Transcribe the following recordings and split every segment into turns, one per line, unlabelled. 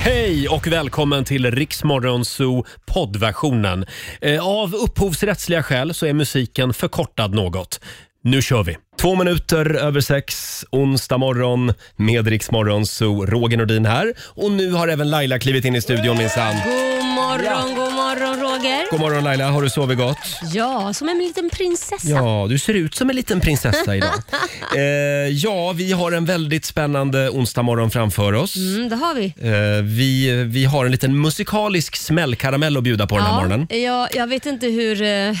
Hej och välkommen till Riksmorgon Zoo poddversionen. Eh, Av upphovsrättsliga skäl så är musiken förkortad något. Nu kör vi! Två minuter över sex, onsdag morgon med Riksmorgon Zoo. Roger Nordin här. Och nu har även Laila klivit in i studion minsann.
God morgon, god morgon Roger.
God morgon Laila, har du sovit gott?
Ja, som en liten prinsessa.
Ja, du ser ut som en liten prinsessa idag. Eh, ja, vi har en väldigt spännande onsdag morgon framför oss.
Mm, det har vi.
Eh, vi, vi har en liten musikalisk smällkaramell att bjuda på den här morgonen.
ja, jag vet inte hur eh,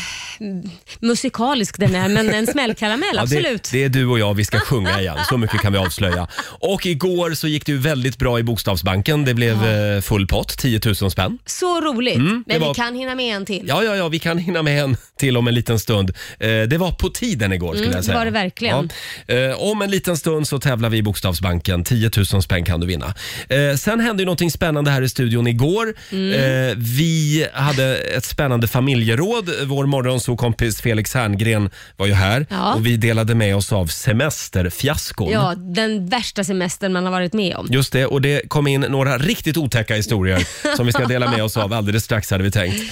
musikalisk den är, men en smällkaramell,
Ja,
absolut.
Det, det är du och jag, vi ska sjunga igen. Så mycket kan vi avslöja. Och igår så gick det ju väldigt bra i Bokstavsbanken. Det blev eh, full pott, 10 000 spänn.
Så roligt,
Mm, det
men
var-
vi kan hinna med en till.
Ja, ja, ja, vi kan hinna med en till om en liten stund. Eh, det var på tiden igår skulle
Mm,
jag säga.
var det verkligen.
Ja. Eh, om en liten stund så tävlar vi i Bokstavsbanken. 10 000 spänn kan du vinna. Eh, sen hände ju någonting spännande här i studion igår.
Mm.
Eh, vi hade ett spännande familjeråd. Vår morgonsokompis Felix Herngren var ju här
Ja.
och vi delade med oss av semesterfiaskon.
Ja, den värsta semestern man har varit med om.
Just det, och det kom in några riktigt otäcka historier som vi ska dela med oss av alldeles strax hade vi tänkt.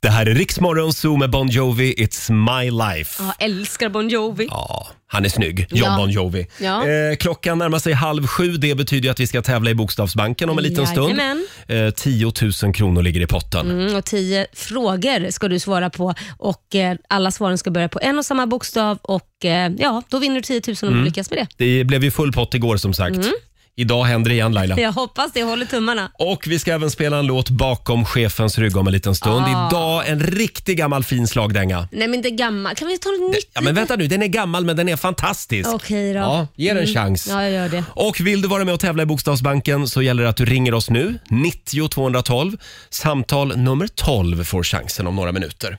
Det här är Riksmorgon Zoo med Bon Jovi, It's My Life.
Jag älskar Bon Jovi.
Ja, han är snygg, John
Ja.
Bon Jovi.
Ja.
Eh, klockan närmar sig halv sju. Det betyder ju att vi ska tävla i Bokstavsbanken om en liten stund.
Jajamän.
Eh, 10 000 kronor ligger i potten.
Mm, och tio frågor ska du svara på och eh, alla svaren ska börja på en och samma bokstav och eh, ja, då vinner du 10 000 om
Mm.
du lyckas med det.
Det blev ju full pott igår som sagt.
Mm.
Idag händer det igen Laila.
Jag hoppas det, jag håller tummarna.
Och vi ska även spela en låt bakom chefens rygg om en liten stund.
Ah.
Idag en riktig gammal fin slagdänga.
Nej men det är gammal. Kan vi ta något nytt?
Ja, men vänta nu, den är gammal men den är fantastisk.
Okej då. Mm.
Ja, ge den en chans.
Ja, jag gör det.
Och vill du vara med och tävla i Bokstavsbanken så gäller det att du ringer oss nu. 90 212. Samtal nummer 12 får chansen om några minuter.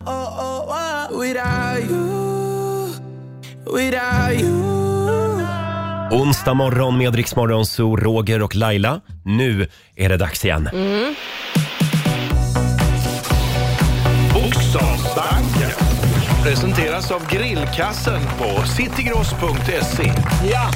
Onsdag morgon med Rix Morgon, så Roger och Laila. Nu är det dags igen.
Mm.
Bokstavsbanken presenteras av grillkassen på citygross.se. Ja!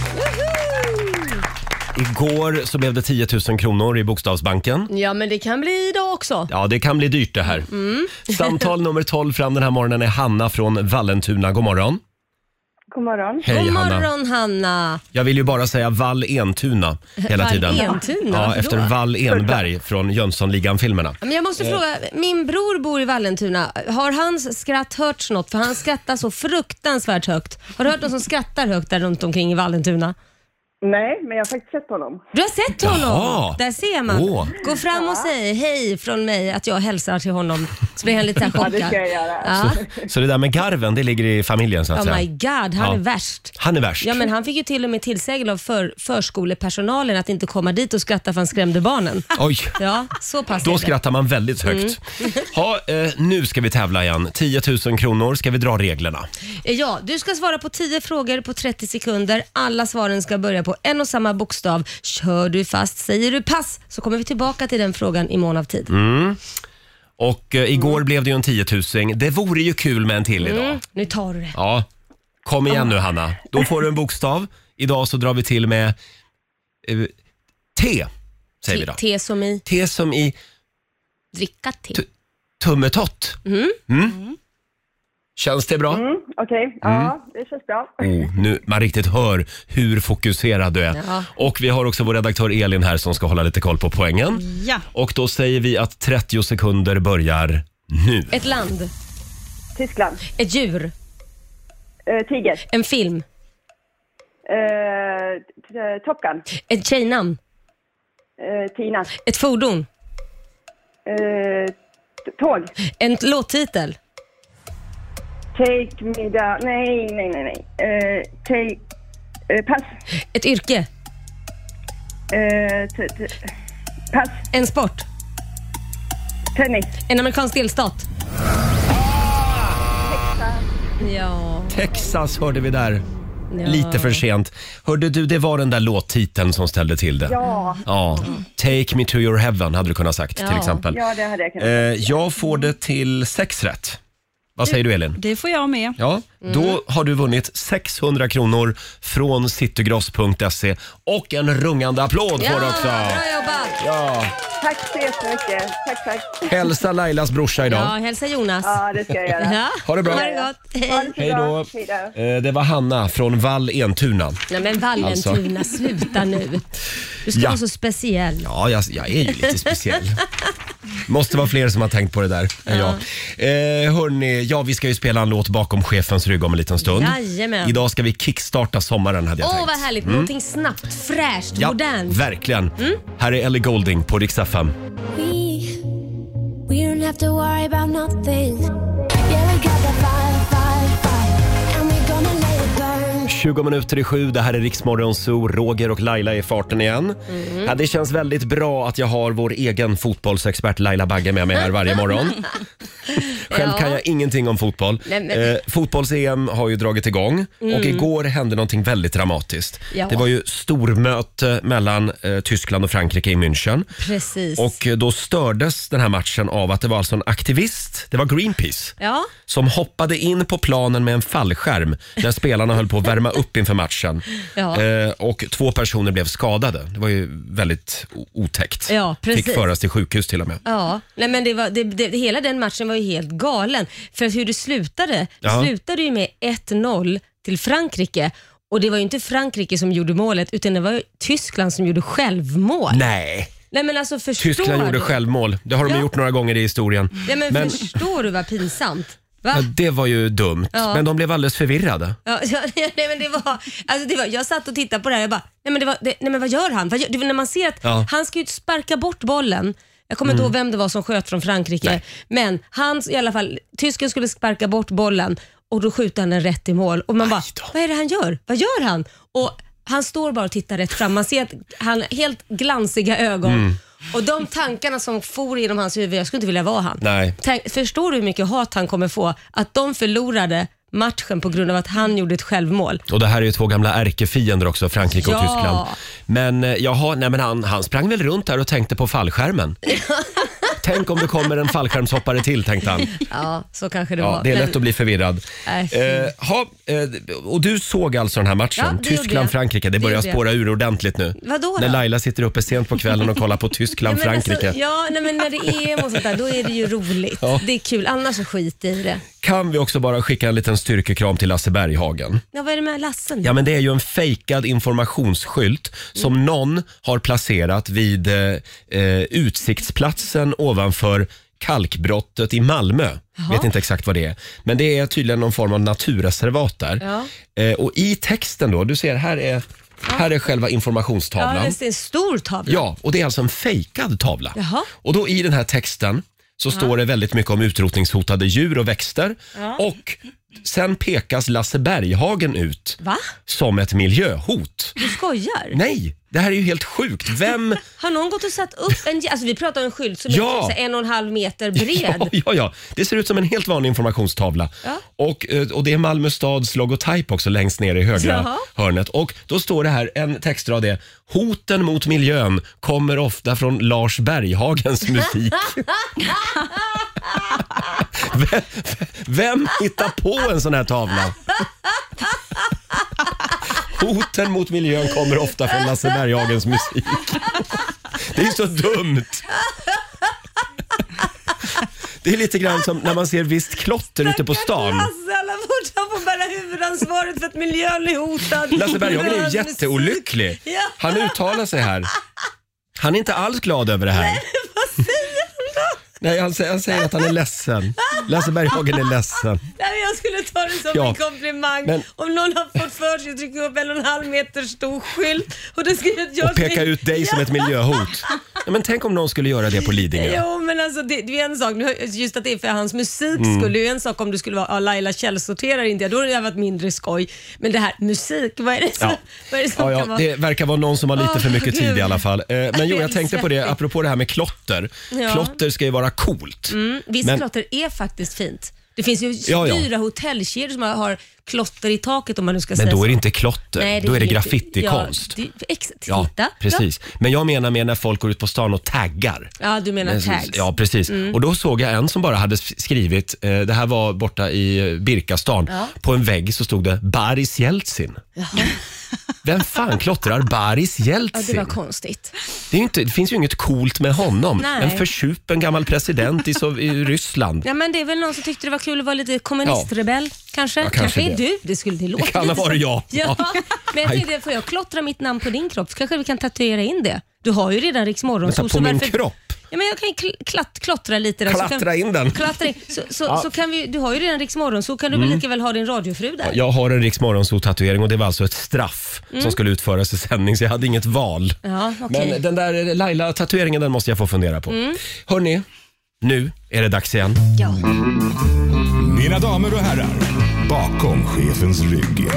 Igår så blev det 10 000 kronor i Bokstavsbanken.
Ja, men det kan bli idag också.
Ja, det kan bli dyrt det här.
Mm.
Samtal nummer 12 fram den här morgonen är Hanna från Vallentuna. God morgon.
God morgon.
Hej
God
Hanna.
morgon Hanna.
Jag vill ju bara säga Vall Entuna hela
Vall
tiden.
Entuna?
Ja,
Varför
efter Eh.
då?
Vall Enberg från Jönssonligan-filmerna.
Men jag måste fråga, min bror bor i Vallentuna. Har hans skratt hörts något? För han skrattar så fruktansvärt högt. Har du hört någon som skrattar högt där runt omkring i Vallentuna?
Nej, men jag har faktiskt sett honom.
Du har sett honom?
Jaha.
Där ser man.
Åh.
Gå fram och säg hej från mig att jag hälsar till honom. Så blir han lite så här
Ja, det ska jag
chockad.
göra.
Ja.
Så det där med garven, det ligger i familjen så att
Oh my
säga.
god, han
Ja.
är värst.
Han är värst.
Ja, men han fick ju till och med tillsägel av för, förskolepersonalen att inte komma dit och skratta för han skrämde barnen.
Oj.
Ja, så pass är
Då
det. Mm.
skrattar man väldigt högt. Ha, eh, nu ska vi tävla igen. 10 000 kronor. Ska vi dra reglerna?
Ja, du ska svara på 10 frågor på 30 sekunder. Alla svaren ska börja på en och samma bokstav. Kör du fast, säger du pass, så kommer vi tillbaka till den frågan i mån av tid.
Mm. Och eh, igår
Mm.
blev det ju en 10 000. Det vore ju kul med en till idag.
Nu tar du det.
Ja, kom igen nu Hanna. Då får du en bokstav. Idag så drar vi till med eh, T, säger vi då.
Te- Te som i
T som i
dricka te.
tummetott. Mm. Känns det bra?
Mm, Okej, ja,
Mm.
det känns bra.
Oh, nu, man riktigt hör hur fokuserad du är.
Ja.
Och vi har också vår redaktör Elin här som ska hålla lite koll på poängen.
Ja.
Och då säger vi att 30 sekunder börjar nu.
Ett land,
Tyskland.
ett djur,
Eh, tiger.
en film,
Eh, t- eh, Top Gun.
ett tjejnamn,
Eh, Tina.
ett fordon,
Eh, t- tåg.
en låttitel,
Take me down. Nej, nej, nej, nej. Eh, take... Eh, pass.
ett yrke,
Eh, t- t- pass.
en sport,
Tennis.
en amerikansk delstat. Ja,
Texas hörde vi där.
ja.
Lite för sent. Hörde du, det var den där låttiteln som ställde till det.
Ja,
Ja, Take me to your heaven hade du kunnat sagt
Ja.
till exempel.
Eh.
ja, det hade jag kunnat.
Eh, jag får det till sex rätt. Vad säger du Elin?
Det får jag med.
Ja,
Mm.
då har du vunnit 600 kronor från citygross.se och en rungande applåd får du också.
bra jobbat!
Ja.
Tack så jättemycket. Tack, tack.
Hälsa Lailas brorsa idag.
Ja, hälsa Jonas.
Ja, det ska jag göra.
Ja.
Ha det bra.
Ha det gott.
Ha
Hej.
det så
Hej
bra.
då.
Hej då.
Eh, Det var Hanna från Vall Entuna.
Nej men Vallentuna, sluta nu. Du ska
Alltså. Ja.
vara så speciell.
Ja, jag, jag är ju lite speciell. Måste vara fler som har tänkt på det där än jag. Eh, hörni, ja vi ska ju spela en låt bakom chefens rygg om en liten stund.
Jajamän.
Idag ska vi kickstarta sommaren hade jag
Åh
tänkt.
vad härligt, någonting snabbt, fräscht,
Mm. Ja,
modernt. Mm.
verkligen. Här är Ellie Golding på Rix FM.
We, we don't have to worry about nothing. Yeah, we got the fire, fire, fire. And we're gonna let it burn.
20 minuter i sju, det här är Riksmorgon Zoo. Roger och Laila är i farten igen.
Mm.
Ja, det känns väldigt bra att jag har vår egen fotbollsexpert Laila Bagge med mig här varje morgon. Själv kan jag ingenting om fotboll.
Nej, men- Mm.
Eh, Fotbolls-EM har ju dragit igång och igår hände någonting väldigt dramatiskt.
Ja.
Det var ju stormöte mellan eh, Tyskland och Frankrike i München.
Precis.
Och eh, då stördes den här matchen av att det var alltså en aktivist, det var Greenpeace,
Ja.
som hoppade in på planen med en fallskärm när spelarna höll på att värma upp inför matchen.
Ja.
Eh, och två personer blev skadade. Det var ju väldigt o- otäckt.
Ja, precis.
Fick föras till sjukhus till och med.
Ja, nej men det var, det, det, hela den matchen var ju helt galen. För hur det slutade, det
Ja.
slutade ju med 1-0 till Frankrike. Och det var ju inte Frankrike som gjorde målet, utan det var ju Tyskland som gjorde självmål. Nej,
Nej,
men alltså förstår
Tyskland gjorde
du?
självmål. Det har de
Ja.
gjort några gånger i historien.
Ja, men,
Men-
förstår du vad pinsamt?
Ja,
Va?
det var ju dumt,
Ja.
men de blev alldeles förvirrade.
Ja, ja, nej, men det var, alltså det var, jag satt och tittade på det här och bara, nej men, det var, det, nej, men vad gör han? Vad gör, det, var när man ser att
Ja. Mm.
han ska ju sparka bort bollen. Jag kommer inte ihåg vem det var som sköt från Frankrike,
Nej.
men han, i alla fall, tysken skulle sparka bort bollen och då skjuter han den rätt i mål. Och man bara,
då.
vad är det han gör? Vad gör han? Och han står bara och tittar rätt fram. Man ser att han har helt glansiga ögon.
Mm.
Och de tankarna som for genom hans huvud, jag skulle inte vilja vara han.
Nej.
Tänk, förstår du hur mycket hat han kommer få? Att de förlorade matchen på grund av att han gjorde ett självmål.
Och det här är ju två gamla ärkefiender också, Frankrike och
Ja.
Tyskland. Men eh, jaha, nej men han, han sprang väl runt där och tänkte på fallskärmen. Tänk om det kommer en fallskärmshoppare till, tänkte han.
Ja, så kanske det
Ja,
var.
det är
Men-
lätt att bli förvirrad.
Nej, fy.
Eh, ha, eh, och du såg alltså den här
Ja, det
matchen,
gjorde jag.
Tyskland-Frankrike. Det
Det
börjar
gjorde jag.
spåra ur ordentligt nu.
Vadå då?
När Laila sitter uppe sent på kvällen och kollar på
Nej, men
Tyskland-Frankrike.
Alltså, ja, nej, men när det är EM och sånt där, då är det ju roligt.
Ja.
Det är kul, annars så skit i det.
Kan vi också bara skicka en liten styrkekram till Lasse Berghagen?
Ja, vad är det med Lasse nu?
Ja, men det är ju en fejkad informationsskylt som
Mm.
någon har placerat vid eh, eh, utsiktsplatsen ovanför kalkbrottet i Malmö. Vet inte exakt vad det är. Men det är tydligen någon form av naturreservat där.
Ja.
Eh, och i texten då, du ser här är, här är själva
Ja,
informationstavlan.
det är en stor tavla.
Ja, och det är alltså en fejkad tavla.
Jaha.
Och då i den här texten så står det väldigt mycket om utrotningshotade djur och växter. Och sen pekas Lasse Berghagen ut
Va?
som ett miljöhot.
Du skojar?
Nej, det här är ju helt sjukt. Vem...
Har någon gått och satt upp en... Alltså vi pratar om en skylt som
Ja.
är typ så här en och en halv meter bred.
Ja, ja, ja. Det ser ut som en helt vanlig informationstavla.
Ja.
Och, eh, och det är Malmö stads logotyp också längst ner i högra
Jaha.
hörnet. Och då står det här, en textrad är “Hoten mot miljön kommer ofta från Lars Berghagens musik”. vem, vem hittar på en sån här tavla? Hoten mot miljön kommer ofta från Lasse Berghagens musik. Det är så dumt! Det är lite grann som när man ser visst klotter ute på stan.
Lasse, alla fortfarande får bära huvudansvaret för att miljön är hotad.
Lasse Berghagen är
Hans
ju jätteolycklig.
musik. Ja.
Han uttalar sig här. Han är inte alls glad över det här. Nej, han säger, han säger att han är ledsen. Lasse Berghagen är ledsen.
Nej, men jag skulle ta det som
Ja,
en komplimang
men-
om någon har fått för sig att trycka upp en och en halv meter stor skylt och det skriver att jag
Och pekar
ska-
ut dig som ett miljöhot. Ja, men tänk om någon skulle göra det på Lidingö.
Jo men alltså det, det är en sak, Nu- just att det är för hans musik
Mm.
skulle det är ju en sak om du skulle vara ja, Laila källsorterare inte, då hade det varit mindre skoj. Men det här musik, vad är det som,
Ja.
vad är det som
Ja,
kan
ja,
vara? Mm,
det verkar vara någon som har lite
Åh,
för mycket tid
Gud.
i alla fall. Eh, Men jo, jag tänkte på det apropå det här med klotter.
Ja. Mm,
Klotter ska ju vara coolt.
Visst
Men-
klotter är faktiskt fint. Det finns ju
Ja, ja.
dyra hotellkedjor som har klotter i taket om man nu ska
Men
säga
då
så.
är det inte klotter,
Nej,
då är det
inget-
graffitikonst.
Ja, det, ex, titta.
Ja,
Ja.
precis. Men jag menar med när folk går ut på stan och taggar.
Ja, du menar
Men-
tags. Mm.
Ja, precis. Och då såg jag en som bara hade s- skrivit, eh, det här var borta i eh, Birkastan,
Ja.
på en vägg så stod det Boris Jeltsin. Vem fan klottrar Boris
Ja,
Jeltsin?
det var konstigt.
det, är ju inte, det finns ju inget coolt med honom.
Nej.
En försupen gammal president i, Sov- i Ryssland.
Ja, men det är väl någon som tyckte det var kul att vara lite kommunistrebell. Kanske?
kanske
är
det.
du. Det skulle det låta
Det kan ha
lite
varit
så.
jag.
Ja.
Ja.
Men jag tänkte, får jag klottra mitt namn på din kropp så kanske vi kan tatuera in det. Du har ju redan Riks
Vänta,
Morgonzoo.
på min kropp?
Ja, men jag kan ju kl- klatt, klottra lite. Där, så
Klattra
kan,
in den.
Klottra in. Så, så, så kan vi, du har ju redan Riks Morgonzoo. Kan du
Mm.
väl lika väl ha din radiofru där?
Jag har en Rix tatuering och det var alltså ett straff som skulle utföras i sändning så jag hade inget val.
Ja, Mm. Eh, okej. Mm.
Men den där eh, Laila-tatueringen den måste jag få fundera på. Hörni, nu är det dags igen.
Ja.
Mina damer och herrar, bakom chefens rygg.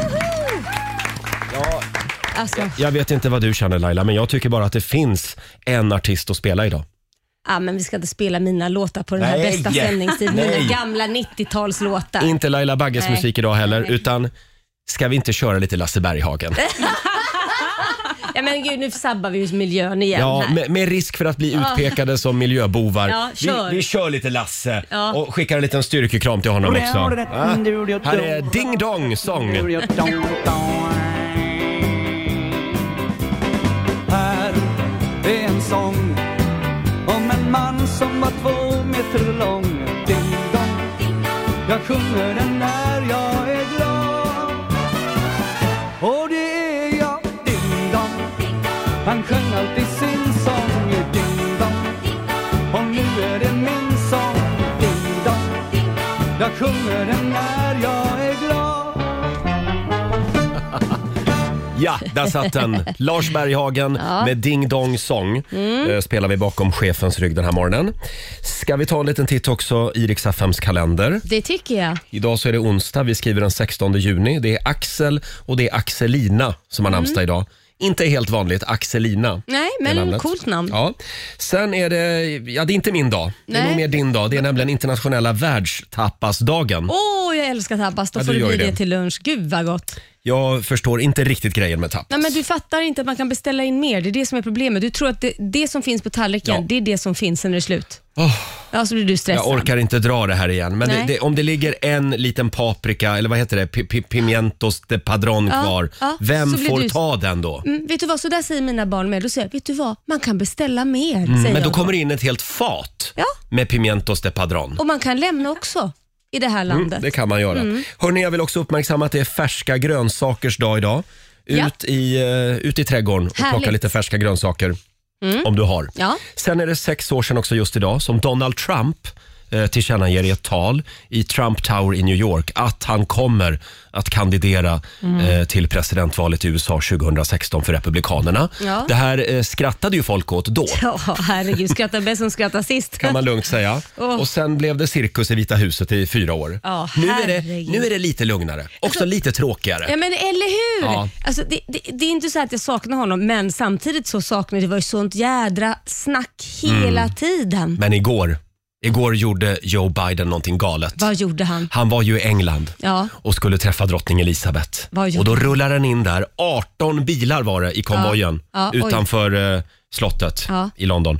Alltså,
Jag vet inte vad du känner Laila, men jag tycker bara att det finns en artist att spela idag.
ah, men vi ska inte spela mina låtar på den här
Nej.
bästa sändningstiden.
Nej.
Mina gamla 90-talslåtar.
Inte Laila Bagges
Ah. Nej.
musik idag heller, utan ska vi inte köra lite Lasse Berghagen?
Ja, men gud, nu sabbar vi ju miljön igen
Ja,
här.
med, med risk för att bli utpekade som miljöbovar.
Ja, kör.
Vi, vi kör lite Lasse
Ja.
och skickar en liten styrkekram till honom också. Ja. Här är Ding Dong Song.
Här är en sång om en man som var två meter lång. Ding dong, jag sjunger den när jag är glad. Och det är jag, ding dong. Han sjöng alltid sin sång, ding dong. Och nu är det min sång, ding dong. Jag sjunger den när jag är glad.
Ja, där satt den. Lars Berghagen med Ding Dong Song
Mm.
eh, spelar vi bakom chefens rygg den här morgonen. Ska vi ta en liten titt också i Rix FMs kalender.
Det tycker jag.
Idag så är det onsdag, vi skriver den 16 juni. Det är Axel och det är Axelina som har namnsdag idag. Inte helt vanligt, Axelina.
Mm. Nej,
är
men
namnet.
coolt namn.
Ja. Sen är det, ja det är inte min dag. Det är
Nej.
nog mer din dag. Det är nämligen internationella världstapasdagen.
Åh, jag älskar tapas. Då
Ja,
får
du
det
gör
bli
ju
det.
det.
till lunch. Gud vad gott.
Jag förstår inte riktigt grejen med tapas.
Nej, men du fattar inte att man kan beställa in mer. Det är det som är problemet. Du tror att det, det som finns på tallriken,
Ja.
det är det som finns sen det är slut. Ja, så blir du stressad.
Jag orkar inte dra det här igen. Men det,
Nej.
det, om det ligger en liten paprika, eller vad heter det, P- p- pimientos de padron
Ja,
kvar.
ja,
Vem
så blir
får
du-
ta den då?
Mm, vet du vad, så där säger mina barn med. Då säger jag, vet du vad, man kan beställa mer. säger
Mm, Men då
jag.
kommer det in ett helt fat
Ja.
med pimientos de padron.
Och man kan lämna också i det här landet.
Mm, Det kan man göra.
Mm.
Hörrni, jag vill också uppmärksamma att det är färska grönsakers dag idag. Ut,
Ja.
i, eh, ut i trädgården och
Härligt. Mm.
plocka lite färska grönsaker. Om du har.
Ja.
Sen är det sex år sedan också just idag som Donald Trump eh, tillkännager i ett tal i Trump Tower i New York att han kommer att kandidera
Mm.
eh, till presidentvalet i USA 2016 för Republikanerna.
Ja.
Det här eh, skrattade ju folk åt då.
Ja, herregud. Skrattar bäst som skrattar sist.
Kan man lugnt säga.
Åh.
Och sen blev det cirkus i Vita huset i fyra år.
Ja,
nu, är det,
herregud. Alltså-
nu är det lite lugnare. Också lite tråkigare.
Ja, men eller hur?
Ja.
Alltså, det, det, det är inte så att jag saknar honom, men samtidigt så saknar jag- det var ju sånt jädra snack hela tiden.
Mm. Men igår, igår gjorde Joe Biden någonting galet.
Vad gjorde han?
Han var ju i England
Ja.
och skulle träffa drottning Elizabeth.
Vad gjorde
Och då rullar han in där. 18 bilar var det i konvojen
Ja, ja, oj.
utanför eh, slottet
Ja.
i London.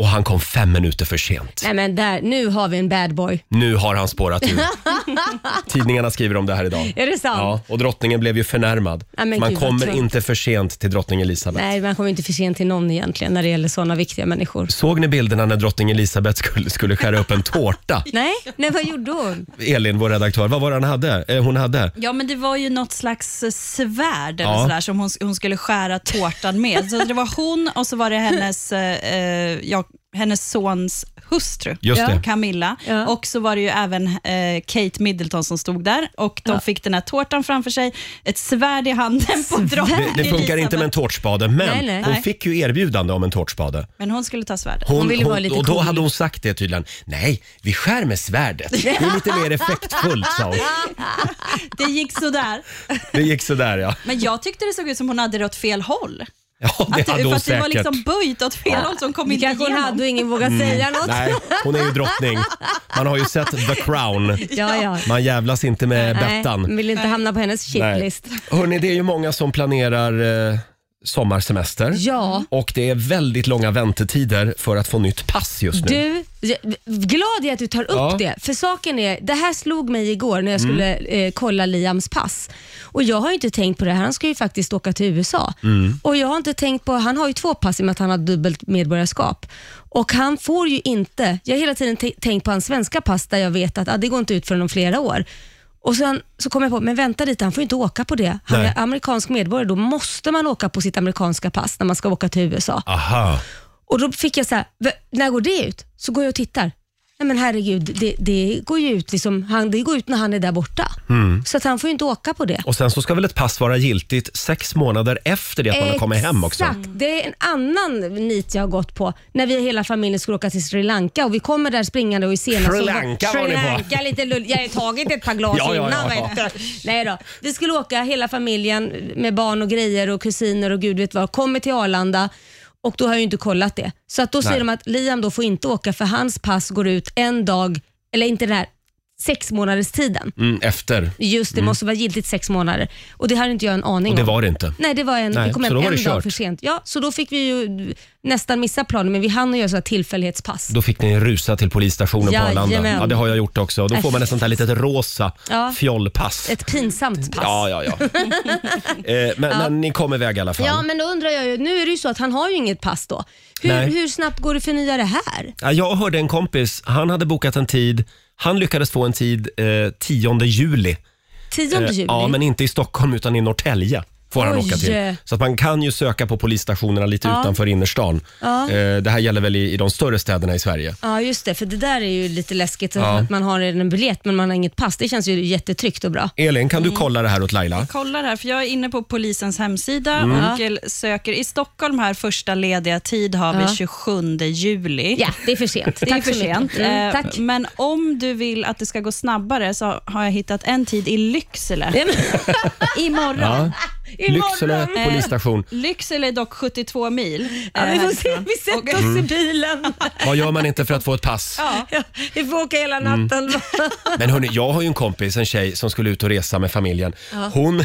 Och han kom fem minuter för sent.
Nej men där, nu har vi en bad boy.
Nu har han spårat ur. Tidningarna skriver om det här idag.
Är det sant?
Ja, och drottningen blev ju förnärmad.
Ja, men
man
gud, vad
kommer
tråkigt.
inte för sent till drottning Elisabeth.
Nej, man kommer inte för sent till någon egentligen när det gäller sådana viktiga människor.
Såg ni bilderna när drottning Elisabeth skulle, skulle skära upp en tårta?
Nej, nej vad gjorde hon?
Elin, vår redaktör, vad var det han hade? Eh, hon hade?
Ja, men det var ju något slags eh, svärd eller
Ja.
sådär, som hon, hon skulle skära tårtan med. Så det var hon och så var det hennes, eh, eh, ja, hennes sons hustru,
Just det.
Camilla.
Ja.
Och så var det ju även eh, Kate Middleton som stod där och de fick den här tårtan framför sig, ett svärd i handen på drottning
Det, det funkar inte med en
Elisabeth.
tårtspade, men
Nej, nej.
hon
Nej.
fick ju erbjudande om en tårtspade.
Men hon skulle ta svärdet.
Hon,
ville vara lite
och då
cool.
hade hon sagt det tydligen. Nej, vi skär med svärdet. Det är lite mer effektfullt, sa hon.
Det gick sådär.
Det gick sådär, ja.
Men jag tyckte det såg ut som hon hade det åt fel håll.
Ja, det
Att,
hade
för
hon
att det var
säkert.
liksom böjt åt fel håll som kom
Det
inte
kanske hon
igenom.
hade och ingen vågade säga något.
Nej, hon är ju drottning. Man har ju sett The Crown.
Ja, ja.
Man jävlas inte med Bettan.
Nej, vill inte hamna på hennes shitlist.
Hörni, det är ju många som planerar eh, sommarsemester.
Ja.
Och det är väldigt långa väntetider för att få nytt pass just nu.
Du, jag- glad jag är att du tar upp
Ja. Mm.
det. För saken är, det här slog mig igår när jag skulle eh, kolla Liams pass. Och jag har ju inte tänkt på det här. Han ska ju faktiskt åka till USA.
Mm.
Och jag har inte tänkt på, han har ju två pass i och med att han har dubbelt medborgarskap. Och han får ju inte, jag har hela tiden te- tänkt på hans svenska pass där jag vet att ah, det går inte ut förrän om flera år. Och sen så kom jag på, men vänta lite, han får ju inte åka på det. Han
Nej.
är amerikansk medborgare, då måste man åka på sitt amerikanska pass när man ska åka till USA.
Aha.
Och då fick jag så här, "Va- när går det ut? Så går jag och tittar. Nej men herregud, det, det går ju ut liksom, han, det går ut när han är där borta. Så att han får ju inte åka på det.
Och sen så ska väl ett pass vara giltigt sex månader efter det att man har kommit hem också.
Exakt, det är en annan nit jag har gått på. När vi hela familjen skulle åka till Sri Lanka och vi kommer där springande och är sena.
Sri
så-
Lanka var
Sri
ni på.
Lanka, lite lull. Jag har ju tagit ett par glas
Ja, ja,
innan.
ja, ja.
Vet du. Nej då. Vi skulle åka hela familjen med barn och grejer och kusiner och gud vet vad. Kommer till Arlanda och då har jag ju inte kollat det. Så att då
Nej.
säger de att Liam då får inte åka för hans pass går ut en dag, eller inte den här sex månaders tiden.
Mm, efter.
Just det, måste vara giltigt sex månader. Och det hade inte jag en aning
Och det
om.
var det inte.
Nej, det var en,
Nej,
vi kom
så
hem
då var
en
det kört.
dag för sent. Ja, så då fick vi ju nästan missa planen, men vi hann att göra så här tillfällighetspass.
Då fick ni rusa till polisstationen på Arlanda.
Jajamän.
Ja, det har jag gjort också. Då får man ett sånt här litet rosa
Ja.
fjollpass.
Ett pinsamt pass.
Ja, ja, ja. eh, men, men ni kom iväg i alla fall.
Ja, men då undrar jag ju, nu är det ju så att han har ju inget pass då. Hur,
Nej.
hur snabbt går det att förnya det här?
Ja, Jag hörde en kompis, han hade bokat en tid. Han lyckades få en tid eh, 10 juli.
10
Eh,
juli?
Ja, men inte i Stockholm utan i Norrtälje. Får han
Oj.
åka till. Så att man kan ju söka på polisstationerna lite utanför innerstan. Eh, Det här gäller väl i, i de större städerna i Sverige.
Ja, just det, för det där är ju lite läskigt,
Ja.
att man har en biljett men man har inget pass. Det känns ju jättetryggt och bra.
Elin, kan
Mm.
du kolla det här åt Laila?
kollar här, för jag är inne på polisens hemsida
Mm.
och el- söker. I Stockholm här, första lediga tid har
Ja.
vi 27 juli.
Ja, det är för sent.
Det är
Tack
för
så
sent.
mycket. Mm,
Eh,
tack.
Men om du vill att det ska gå snabbare så har jag hittat en tid i Lycksele.
Nej, men-
Imorgon.
Lycksele
Imorgon. Eh.
polisstation.
Lycksele är dock 72 mil.
Ja, vi
eh,
får se,
härifrån.
vi sätter oss
Mm.
i bilen.
Vad gör man inte för att få ett pass?
Ja, vi får åka hela natten.
Men hörni, jag har ju en kompis, en tjej som skulle ut och resa med familjen. Hon,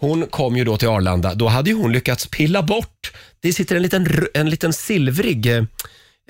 hon kom ju då till Arlanda. Då hade ju hon lyckats pilla bort, det sitter en liten, r- en liten silvrig, eh,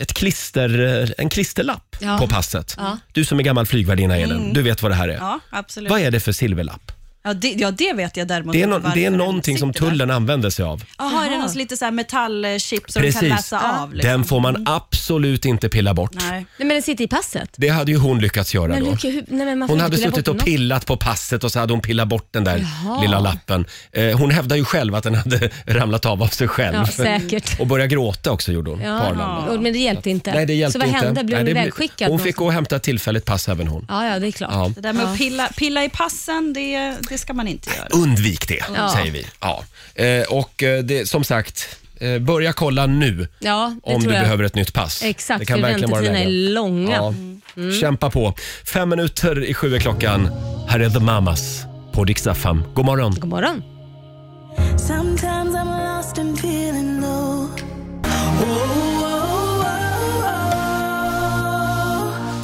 ett klister, eh, en klisterlapp
Ja.
på passet. Du som är gammal flygvärdinna Elin, du vet vad det här är.
Mm. Ja, absolut.
Vad är det för silverlapp?
Ja, det, ja, det vet jag däremot
Det är,
inte
no,
varför
det är
den
någonting som
sitter där.
tullen använder sig av.
Jaha, är det något lite så här metallchip som du kan
Precis.
läsa av? Liksom?
Den får man absolut inte pilla bort.
Nej.
Nej, men den sitter i passet.
Det hade ju hon lyckats göra
Men
då.
Luke, hur, nej, men man får
Hon
inte
hade
pilla
suttit
bort
och
något.
pillat på passet och så hade hon pillat bort den där
Jaha.
lilla lappen. Eh, hon hävdar ju själv att den hade ramlat av av sig själv.
Ja, säkert.
Och började gråta också gjorde hon på
Ja,
Arlanda.
och- men det hjälpte inte.
Nej, det hjälpte
så vad
inte.
hände? Blev
Nej, det
hon
blev-
ivägskickad?
Hon fick
någonstans?
gå och hämta ett tillfälligt pass även hon.
Ja, ja, det är klart.
Ja.
Det där med att pilla, pilla i passen, det, det ska man inte göra.
Undvik det, säger vi. Ja. Eh, och eh, det, som sagt, eh, börja kolla nu
Ja, det
om du
tror jag.
behöver ett nytt pass.
Exakt,
det kan
för
verkligen vara
väntetiderna
läge.
är långa. Mm.
Ja. Kämpa på. Fem minuter i sju är klockan. Här är The Mamas på Dix FM. God morgon.
God morgon.
Sometimes I'm lost and feeling low.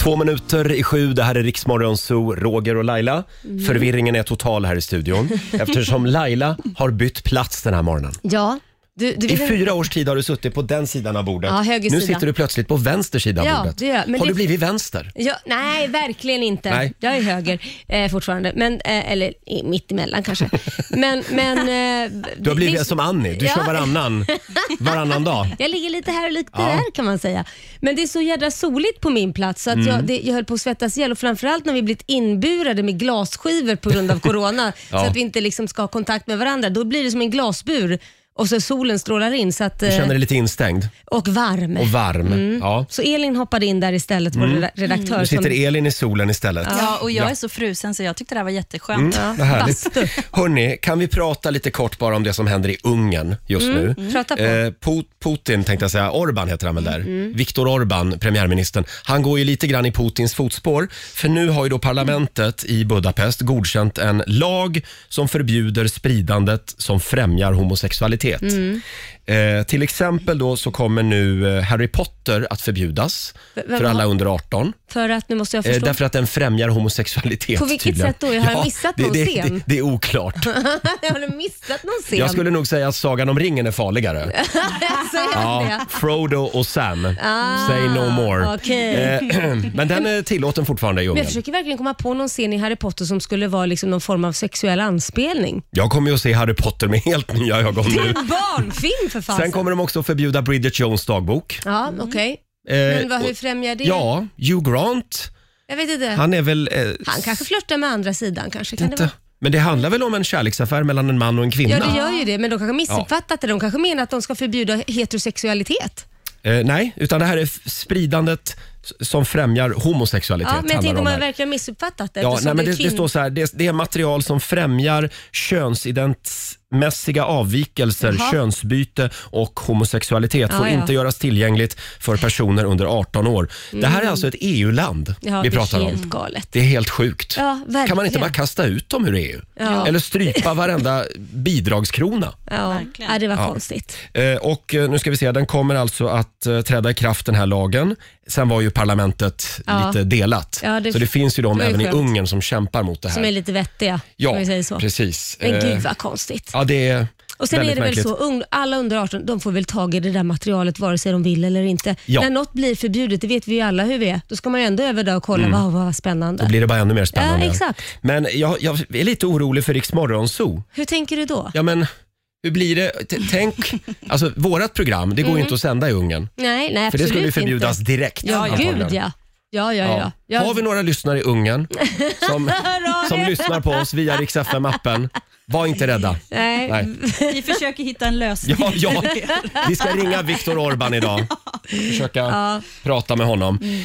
Två minuter i sju, det här är Riksmorgon Zoo, Roger och Laila.
Mm.
Förvirringen är total här i studion eftersom Laila har bytt plats den här morgonen.
Ja, du, du
I
vill...
fyra års tid har du suttit på den sidan av bordet.
Ja, höger
nu
sida.
sitter du plötsligt på vänster sida av
Ja,
bordet.
det gör jag, men
har
det-
du blivit vänster?
Ja, nej, verkligen inte.
Nej.
Jag är höger eh, fortfarande, men, eh, eller i- mittemellan kanske. Men, men, eh,
Du har blivit
det-
som Annie, du
Ja.
kör varannan, varannan dag.
Jag ligger lite här och lite
Ja.
där kan man säga. Men det är så jädra soligt på min plats så att
Mm.
jag, det, jag höll på att svettas ihjäl och framförallt när vi blivit inburade med glasskivor på grund av corona
Ja.
så att vi inte liksom ska ha kontakt med varandra. Då blir det som en glasbur och så solen strålar in så att,
Du
eh,
känner dig lite instängd
och varm.
och varm.
Mm.
Ja.
Så Elin hoppade in där istället, vår reda- redaktör.
Nu
som-
sitter Elin i solen istället.
Ja, och jag är så frusen så jag tyckte det här var jätteskönt.
Vad härligt.
bastu.
Hörni, kan vi prata lite kort bara om det som händer i Ungern just nu?
Prata på.
Eh, Put- Putin tänkte jag säga, Orban heter han väl
Mm,
där. Viktor Orban, premiärministern. Han går ju lite grann i Putins fotspår. För nu har ju då parlamentet i Budapest godkänt en lag som förbjuder spridandet som främjar homosexualitet. sexualitet.
Mm.
Eh, till exempel då så kommer nu eh, Harry Potter att förbjudas
V- vem
för alla
har-
under 18.
För att, nu måste jag
Eh,
förstå.
därför att den främjar homosexualitet.
På vilket
tydligen.
sätt då? Har jag missat
det,
någon
det,
scen?
Det, det är oklart.
Har du missat någon scen?
Jag skulle nog säga att Sagan om ringen är farligare.
alltså, är
Ja,
det?
Frodo och Sam.
Ah,
Say no more.
okej.
Eh, men den är tillåten fortfarande i
Men jag
djungeln.
försöker verkligen komma på någon scen i Harry Potter som skulle vara liksom någon form av sexuell anspelning.
Jag kommer ju att se Harry Potter med helt nya ögon nu.
En barnfilm för fasen.
Sen kommer de också att förbjuda Bridget Jones dagbok.
Ja, okej.
Eh,
Men vad, hur
och-
främjar det?
Ja, Hugh Grant.
Jag vet inte. Han,
Han är väl... Eh,
kanske flörtar med andra sidan kanske. Kan det
inte.
vara?
Men det handlar väl om en kärleksaffär mellan en man och en kvinna?
Ja, det gör ju det, men de kanske missuppfattat det. De kanske menar att de ska förbjuda heterosexualitet.
eh, nej, utan det här är f- spridandet s- som främjar homosexualitet.
Ja, men jag
handlar
tänkte om
här.
man verkligen missuppfattat det.
Ja, nej,
eftersom
men det,
är
det
kvinn-
står så här, det, det är material som främjar könsidentmässiga avvikelser,
Jaha.
könsbyte och homosexualitet.
Ja,
får
ja.
inte göras tillgängligt för personer under 18 år. Det här är alltså ett EU-land
Mm. ja,
vi pratar
det är
om.
helt galet.
Det är helt sjukt.
Ja, verkligen.
kan man inte bara kasta ut dem ur EU?
Ja.
Eller strypa varenda bidragskrona?
Ja,
Verkligen.
ja det var konstigt.
Eh, Och eh, nu ska vi se, den kommer alltså att eh, träda i kraft den här lagen. Sen var ju parlamentet
Ja.
lite delat.
Ja, det-
så det finns ju de
det var ju
även i
skönt.
Ungern som kämpar mot det här.
Som är lite vettiga, om vi säger så.
precis.
Men
Eh,
gud vad konstigt.
Ja, det är
Och sen
väldigt
är det väl
märkligt.
så, ung- alla under 18 de får väl tag i det där materialet vare sig de vill eller inte.
Ja.
När något blir förbjudet, det vet vi ju alla hur vi är, då ska man ju ändå över där och kolla, wow, vad spännande.
Mm. Då blir det bara ännu mer spännande.
Ja, exakt.
Men jag, jag är lite orolig för Rix Morgonzoo.
Hur tänker du då?
Ja, men hur blir det? T- Tänk, alltså vårat program, det går ju inte att sända i Ungern.
Nej, nej
För det
Mm. absolut
skulle ju förbjudas
inte.
direkt.
Ja,
antagligen.
gud ja. Ja, ja, ja.
Ja. Har vi några lyssnare i Ungern som, som lyssnar på oss via Rix FM-appen? Var inte rädda.
Nej.
Nej.
Vi försöker hitta en lösning.
Ja, ja. Vi ska ringa Viktor Orban idag. Försöka prata med honom.
Mm.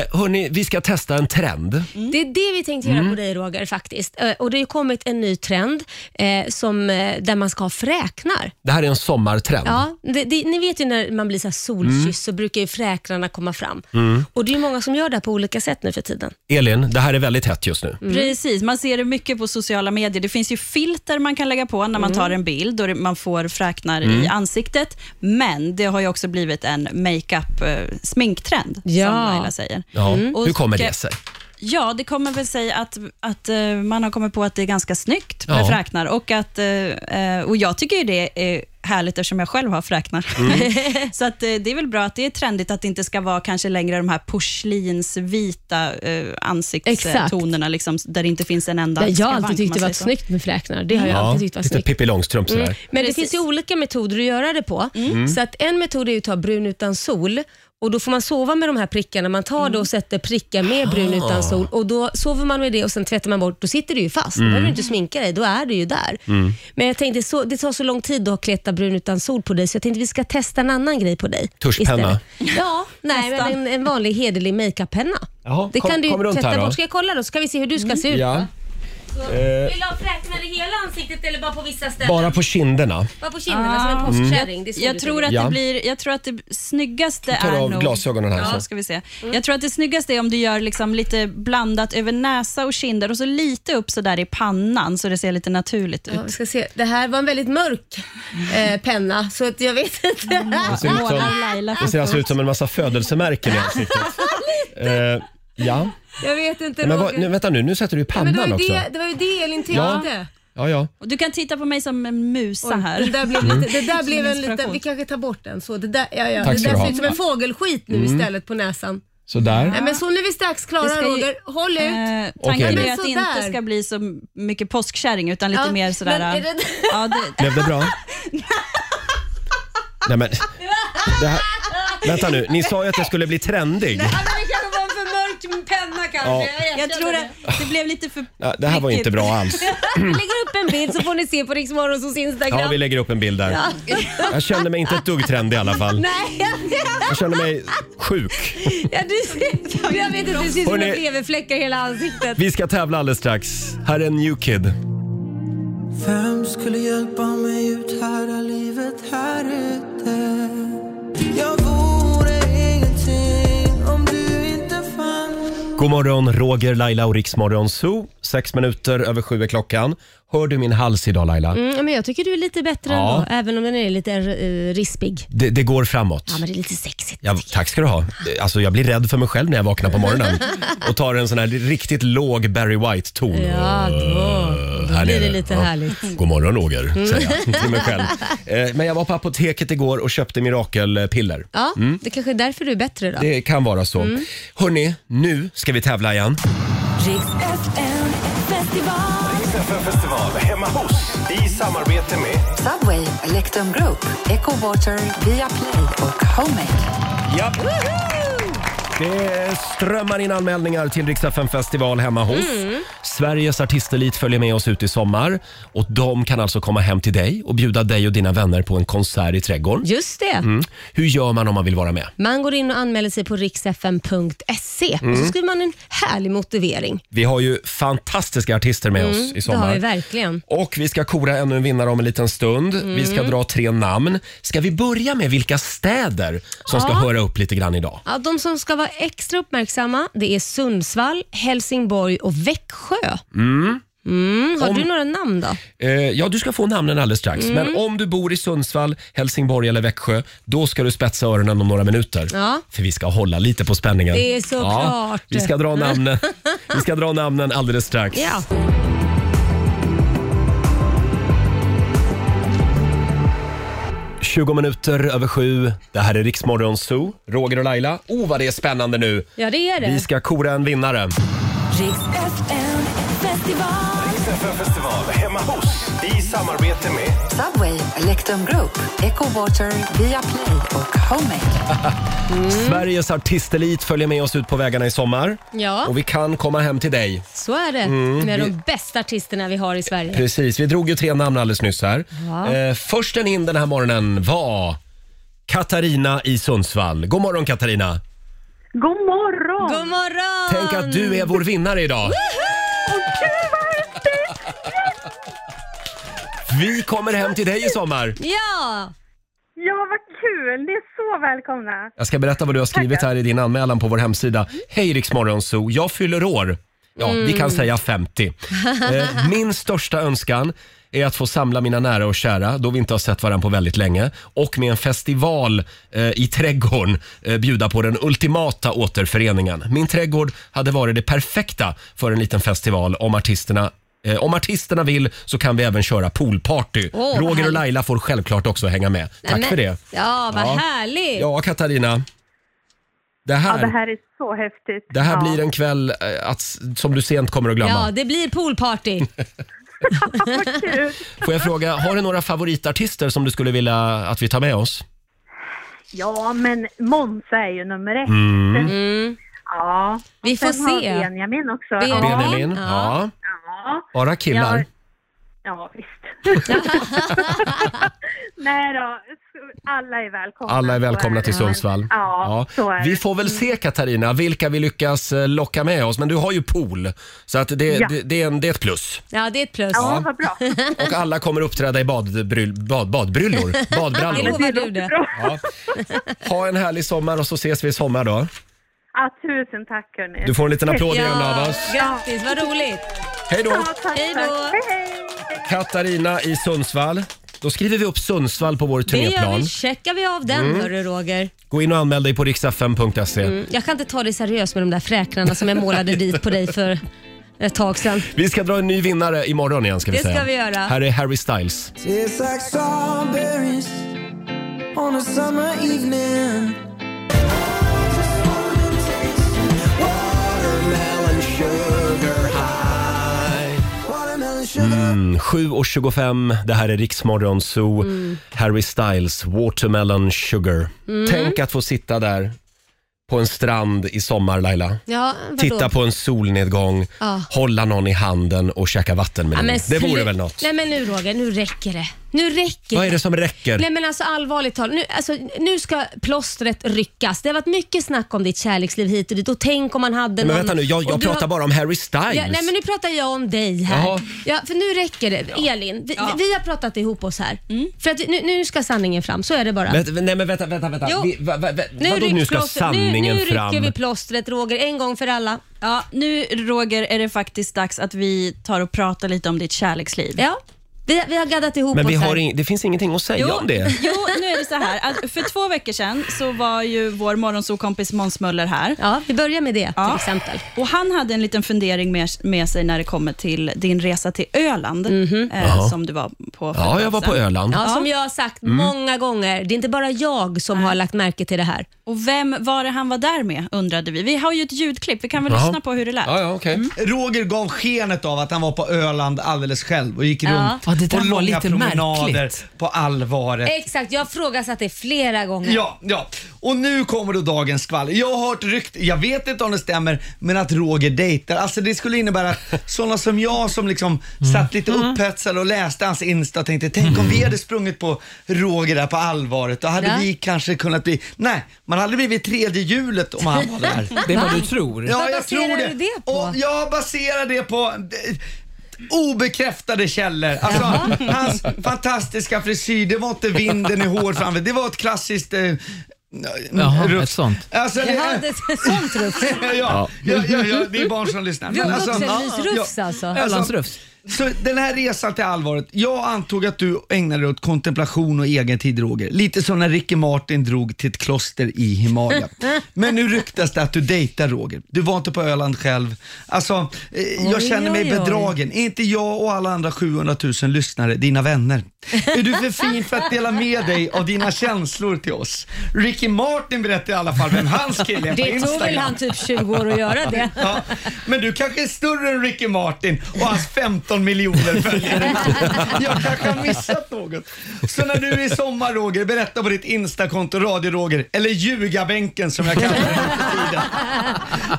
Eh, hörni, vi ska testa en trend.
Det är det vi tänkte göra
Mm.
på dig Roger faktiskt. Eh, Och det har ju kommit en ny trend eh, som, eh, där man ska ha fräknar.
Det här är en sommartrend.
Ja, det, det, ni vet ju när man blir så här solkysst
Mm.
så brukar ju fräknarna komma fram. Och det är ju många som gör det här på olika sätt nu för tiden.
Elin, det här är väldigt hett just
Mm.
nu.
Mm. Precis, man ser det mycket på sociala medier. Det finns ju filter man kan lägga på när man tar en bild och det- man får fräknar i ansiktet. Men det har ju också blivit en makeup eh, sminktrend,
Ja.
som Laila säger.
Ja.
Mm.
Och
Hur kommer
ska-
det sig?
Ja, det kommer väl säga att, att eh, man har kommit på att det är ganska snyggt
Ja.
med fräknar. Och, att, eh, eh, och jag tycker ju det är härligt eftersom jag själv har fräknar.
Mm.
så att, eh, det är väl bra att det är trendigt att det inte ska vara kanske längre de här porslinsvita eh,
Exakt.
ansiktstonerna, liksom, där det inte finns en enda
jag har
skavank,
alltid tyckt
man
det varit
säger så.
snyggt med fräknar. Det har jag
Ja,
alltid tyckt var
lite
snyggt. Mm.
Pippi Långstrump sådär.
Men
Precis.
det finns ju olika metoder att göra det på.
Mm.
Så att en metod är ju att ta brun utan sol och då får man sova med de här prickarna. Man tar det och sätter prickar med
Ah.
brun utan sol och då sover man med det och sen tvättar man bort. Då sitter det ju fast.
Mm.
Då behöver du inte sminka dig. Då är det ju där. Men jag tänkte, så, det tar så lång tid att kleta brun utan sol på dig så jag tänkte vi ska testa en annan grej på dig.
Tuschpenna.
istället. Ja, nej, men en, en vanlig hederlig makeuppenna. Mm.
Jaha,
Det
kom-
kan du
kom
ju
runt här
tvätta
då.
bort. Ska jag kolla då så kan vi se hur du ska se ut?
Ja. Eh,
Vill du ha fräknar i hela ansiktet eller bara på vissa ställen?
bara på kinderna.
Bara på kinderna som en påskkärring. Det är så
Jag
du
tror,
tänker.
att
Ja.
det blir, jag tror att det snyggaste
tar
är
av
nog...
glasögonen här,
Ja,
så.
ska vi se.
Mm.
Jag tror att det snyggaste är om du gör liksom lite blandat över näsa och kinder och så lite upp så där i pannan så det ser lite naturligt ut.
Ja, vi ska se. Det här var en väldigt mörk eh, penna, så att jag vet inte.
ser ut som-
Måla Laila
liksom- Det ser alltså ut som en massa födelsemärken i ansiktet. Eh, ja.
Jag vet inte,
Men vad,
Roger.
nu, vänta nu, nu sätter du i
Men det, var
pannan
ju
också.
det, det var ju det Elin tänkte.
Ja. Ja, ja.
Och Du kan titta på mig som en musa
Oj, Det
här.
där blev, lite, det där blev en
inspiration.
liten... Vi kanske tar bort den. Så det där, ja, ja.
Tack
Det
ska du
där
ha.
ser ut som en fågelskit nu istället på näsan.
Sådär.
Nej, men så nu är vi strax
Det
klara
ska ju-
Roger. Håll ut.
Eh,
Okej.
tanken är
Men
ju att det
sådär.
inte ska bli så mycket påskkärring utan lite
Ja,
mer
men
sådär...
är det-
ja, det,
Blev det bra? Nej men. Det här, vänta nu, ni sa ju att jag skulle bli trendig.
Ja, men det kanske var en för mörk penna kanske.
Ja.
erkänner
jag tror att det blev lite för...
Ja, Det här var inte bra alls.
Jag lägger upp en bild så får ni se på Riksmorgons Instagram.
Ja, vi lägger upp en bild där. Jag kände mig inte ett dugg trendig i alla fall.
Nej,
Jag kände mig sjuk.
Ja, du ser, jag vet inte, du ser ut som
Hörrni.
en leverfläck i hela ansiktet.
Vi ska tävla alldeles strax. Här är New Kid.
Vem skulle hjälpa mig ut här är livet här ute? Jag vore ingenting om du inte fanns
God morgon, Roger, Laila och Riksmorgon Zoo. Sex minuter över sju är klockan. Hör du min hals idag Laila?
Mm, men jag tycker du är lite bättre
Ja.
ändå, även om den är lite eh, rispig.
Det, det går framåt.
Ja, men det är lite sexigt.
Ja, tack ska du ha. Alltså, jag blir rädd för mig själv när jag vaknar på morgonen och tar en sån här riktigt låg Barry White-ton.
Ja,
Eh,
då,
här
då blir det
nere.
lite
Ja.
härligt. Mm.
God morgon Roger, säger jag till mig själv. Eh, Men jag var på apoteket igår och köpte mirakelpiller.
Ja, Mm. det kanske är därför du är bättre då.
Det kan vara så. Hörni, nu ska vi tävla igen.
Riks FM festival.
FN-festival hemma hos i samarbete med
Subway, Electrum Group, Echo Water, Viaplay och Homemade.
Ja. Det strömmar in anmälningar till Rix FM festival hemma hos.
Mm.
Sveriges artistelit följer med oss ut i sommar och de kan alltså komma hem till dig och bjuda dig och dina vänner på en konsert i trädgården.
Just det.
Hur gör man om man vill vara med?
Man går in och anmäler sig på riksfm.se och
Mm.
så skriver man en härlig motivering.
Vi har ju fantastiska artister med oss
Mm,
i
det har vi
sommar.
verkligen.
Och vi ska kora ännu en vinnare om en liten stund. Vi ska
Mm.
dra tre namn. Ska vi börja med vilka städer som ska
Ja.
höra upp lite grann idag?
Ja, de som ska vara extra uppmärksamma det är Sundsvall, Helsingborg och Växjö. Mm, har du några namn då?
Eh, ja, du ska få namnen alldeles strax.
Mm.
Men om du bor i Sundsvall, Helsingborg eller Växjö, då ska du spetsa öronen om några minuter.
Ja.
För vi ska hålla lite på spänningen.
Det är såklart.
vi, ska dra namnen. vi ska dra namnen alldeles strax.
Ja.
Ja. 20 minuter över sju. Det här är Riksmorgon Zoo. Roger och Laila. Oh, vad det är spännande nu.
ja, Mm. det är
Vi
det.
ska kora en vinnare.
Riks FM festival.
FN-festival hemma hos i samarbete med
Subway, Electrum Group, Echo Water, Viaplay och Homemade.
Sveriges artistelit följer med oss ut på vägarna i sommar.
Ja,
Och vi kan komma hem till dig.
så är det
Mm,
med de bästa artisterna vi har i Sverige.
Precis, vi drog ju tre namn alldeles nyss här.
Ja.
Eh, försten in den här morgonen var Katarina i Sundsvall. God morgon Katarina!
God morgon!
God morgon!
Tänk att du är vår vinnare idag. Vi kommer hem till dig i sommar.
Ja!
Ja, vad kul! Ni är så välkomna.
Jag ska berätta vad du har skrivit här i din anmälan på vår hemsida. Hej Rix Morgonzoo, jag fyller år. Ja, vi
Mm.
kan säga 50. Eh, Min största önskan är att få samla mina nära och kära, då vi inte har sett varandra på väldigt länge, och med en festival eh, i trädgården eh, bjuda på den ultimata återföreningen. Min trädgård hade varit det perfekta för en liten festival om artisterna eh, om artisterna vill så kan vi även köra poolparty.
Åh, vad
Roger och
härligt.
Laila får självklart också hänga med. Tack
Nämen.
för det.
Ja, vad
Ja.
härligt.
Ja, Katarina. Det här,
Ja, det här är så häftigt.
det här
ja.
blir en kväll eh, att, som du sent kommer att glömma.
Ja, det blir poolparty.
Får jag fråga, har du några favoritartister som du skulle vilja att vi tar med oss?
Ja, men Monza är ju nummer ett.
Mm.
Mm. Ja. Och
Mm. Vi får
sen har
se.
Benjamin också.
Benjamin.
Ja.
Benjamin? Ja.
Ja.
Ja.
Bara killar?
Ja. ja, visst. Nej då, alla är välkomna.
Alla är välkomna till
Så är det.
Sundsvall.
Ja, så är det.
Vi får väl se Katarina, vilka vi lyckas eh, locka med oss. Men du har ju pool, så att det,
Ja.
det, det, är en, det är ett plus.
Ja, det är ett plus.
Ja, vad bra.
Och alla kommer uppträda i badbryll, bad, badbryllor,
Det
badbrallor.
lovar du det.
Ja. Ha en härlig sommar och så ses vi i sommar då.
Ja, tusen tack hörni.
Du får en liten applåd igen av
Ja,
oss.
grattis, vad roligt.
Hej då!
Ja, tack,
Hej
Hej
då.
Hej, hej.
Katarina i Sundsvall. Då skriver vi upp Sundsvall på vår
Det gör
turnéplan.
vi. Checkar vi av den
Mm.
hörru Roger.
Gå in och anmäl dig på riksfm.se.
Mm, Jag kan inte ta det seriöst med de där fräknarna som jag målade dit på dig för ett tag sedan.
Vi ska dra en ny vinnare imorgon igen ska vi
Det
säga.
ska vi göra.
Här är Harry Styles.
Tastes like strawberries on a summer evening.
Mm, 7.25, det här är Riksmorgon Zoo.
Mm.
Harry Styles, Watermelon Sugar. Tänk att få sitta där på en strand i sommar Laila.
Ja, vadå?
Titta på en solnedgång,
Ja.
hålla någon i handen och käka vatten med
Ja,
någon.
men
Det vore
slu-
väl något?
Nej men nu Roger, nu räcker det. Nu räcker
Vad är det som räcker?
Nej men alltså allvarligt talat, nu, alltså, nu ska plåstret ryckas. Det har varit mycket snack om ditt kärleksliv hit och dit och tänk om man hade
men
någon...
vänta nu, jag,
och
jag
du
pratar
har-
bara om Harry Styles.
Ja, nej men nu pratar jag om dig här.
Jaha.
Ja, för nu räcker det. Elin, vi,
Ja.
vi har pratat ihop oss här. För att nu, nu ska sanningen fram, så är det bara.
Vänta, nej men vänta, vänta, vänta.
Jo.
Vi, va, va, va,
nu,
vadå,
rycks
nu ska
plåstret-
sanningen
nu, nu
fram?
rycker vi plåstret Roger, en gång för alla.
Ja, nu Roger är det faktiskt dags att vi tar och pratar lite om ditt kärleksliv.
Ja, vi, vi har gaddat ihop
men
oss
vi
här.
har in, det finns ingenting att säga om det.
jo, nu är det så här att för två veckor sedan så var ju vår morgonsokompis Måns Möller här.
Ja, vi börjar med det till
Ja.
exempel.
Och Han hade en liten fundering med, med sig när det kommer till din resa till Öland,
Mhm.
eh, som du var på för ett
Ja,
tag
jag var på
sedan.
Öland.
Alltså. Ja, Som jag har sagt
Mm.
många gånger, det är inte bara jag som har lagt märke till det här.
Och Vem var det han var där med, undrade vi. Vi har ju ett ljudklipp, vi kan väl
Jaha.
lyssna på hur det lät.
Ja, ja,
Mm.
okej.
Roger gav skenet av att han var på Öland alldeles själv och gick runt
Ja, det där
på
var
långa
lite
promenader
märkligt.
på Alvaret.
Exakt, jag har frågat det flera gånger.
Ja, ja. Och nu kommer då dagens skvaller. Jag har hört rykt, jag vet inte om det stämmer, men att Roger dejtar. Alltså det skulle innebära att sådana som jag som liksom
Mm.
satt lite upphetsad och läste hans Insta och tänkte, tänk om vi hade sprungit på Roger där på allvaret, då hade
Ja.
vi kanske kunnat bli, nej, man hade blivit tredje hjulet om han var där.
Det är vad du tror.
Ja,
Vad
jag
baserar
tror det.
du det på?
Och jag baserar det på eh, obekräftade källor. Alltså, hans fantastiska frisyr, det var inte vinden i hår framför, det var ett klassiskt eh,
Jaha,
rufs.
ett sånt.
Alltså, det,
Jaha, det är sånt rufs.
ja, ja, ja, ja, det är barn som lyssnar.
Vi har
Men alltså-
vuxenmysrufs
Ja.
alltså.
Ölandsrufs.
Så den här resan till allvaret. Jag antog att du ägnade dig åt kontemplation och egen tid Roger. Lite som när Ricky Martin drog till ett kloster i Himalaya. Men nu ryktas det att du dejtar Roger. Du var inte på Öland själv. Alltså, eh, jag
Oj,
känner mig
oj, oj.
bedragen. Är inte jag och alla andra 700 000 lyssnare dina vänner? Är du för fin för att dela med dig av dina känslor till oss? Ricky Martin berättar i alla fall vem hans kille är på
Det tog väl
Instagram.
han typ 20 år att göra det.
Ja, men du kanske är större än Ricky Martin och hans 15 miljoner följare. Jag kanske har missat något. Så när du i sommar Roger, berätta på ditt Instakonto Radio Roger, eller Ljugabänken som jag kallar det för tiden,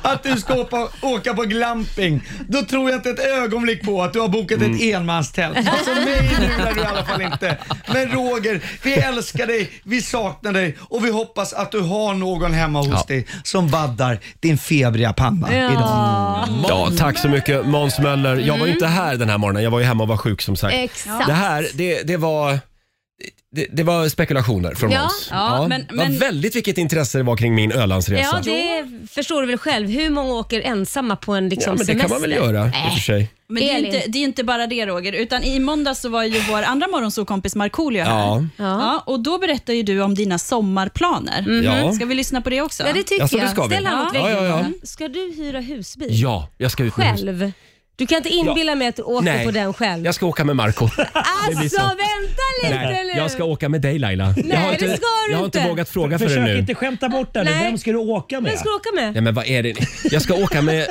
att du ska åka, åka på glamping. Då tror jag inte ett ögonblick på att du har bokat ett enmanstält. Alltså mig lurar du i alla fall inte. Men Roger, vi älskar dig, vi saknar dig och vi hoppas att du har någon hemma hos dig som vaddar din febriga panna idag.
Ja, tack så mycket Måns Möller. Jag var ju inte här den här morgonen, jag var ju hemma och var sjuk som sagt.
Mm. Exakt.
Det här, det, det var... Det, det var spekulationer från
Ja,
Måns.
ja, men-
det var
men-
väldigt vilket intresse det var kring min Ölandsresa.
Ja, det förstår du väl själv. Hur många åker ensamma på en liksom
ja men det
semester?
kan man väl göra i och för
Äh.
sig.
Men det är, ju
Elin.
inte, det är ju inte bara det Roger, utan i måndags så var ju vår andra morgonsokompis Markoolio här.
Ja.
Ja.
Ja, och då berättar ju du om dina sommarplaner.
Mhm. Ja.
Ska vi lyssna på det också?
Ja, det tycker
Ja, så det ska
jag.
vi.
Ställ han åt
Ja,
väggen
ja, ja.
bara. Ska du hyra husbil
Ja, jag ska ut med hus.
själv? Du kan inte inbilla mig att du åker
Nej,
på den själv.
jag ska åka med Marco blir
Alltså
så.
vänta lite
Nej,
nu!
jag ska åka med dig Laila. jag har
det
inte,
ska du
jag har
inte.
inte vågat fråga förrän
Försök
nu.
inte skämta bort det nu.
Nej.
Vem ska du åka med?
Vem ska du åka med?
Nej men vad är det? Jag ska åka med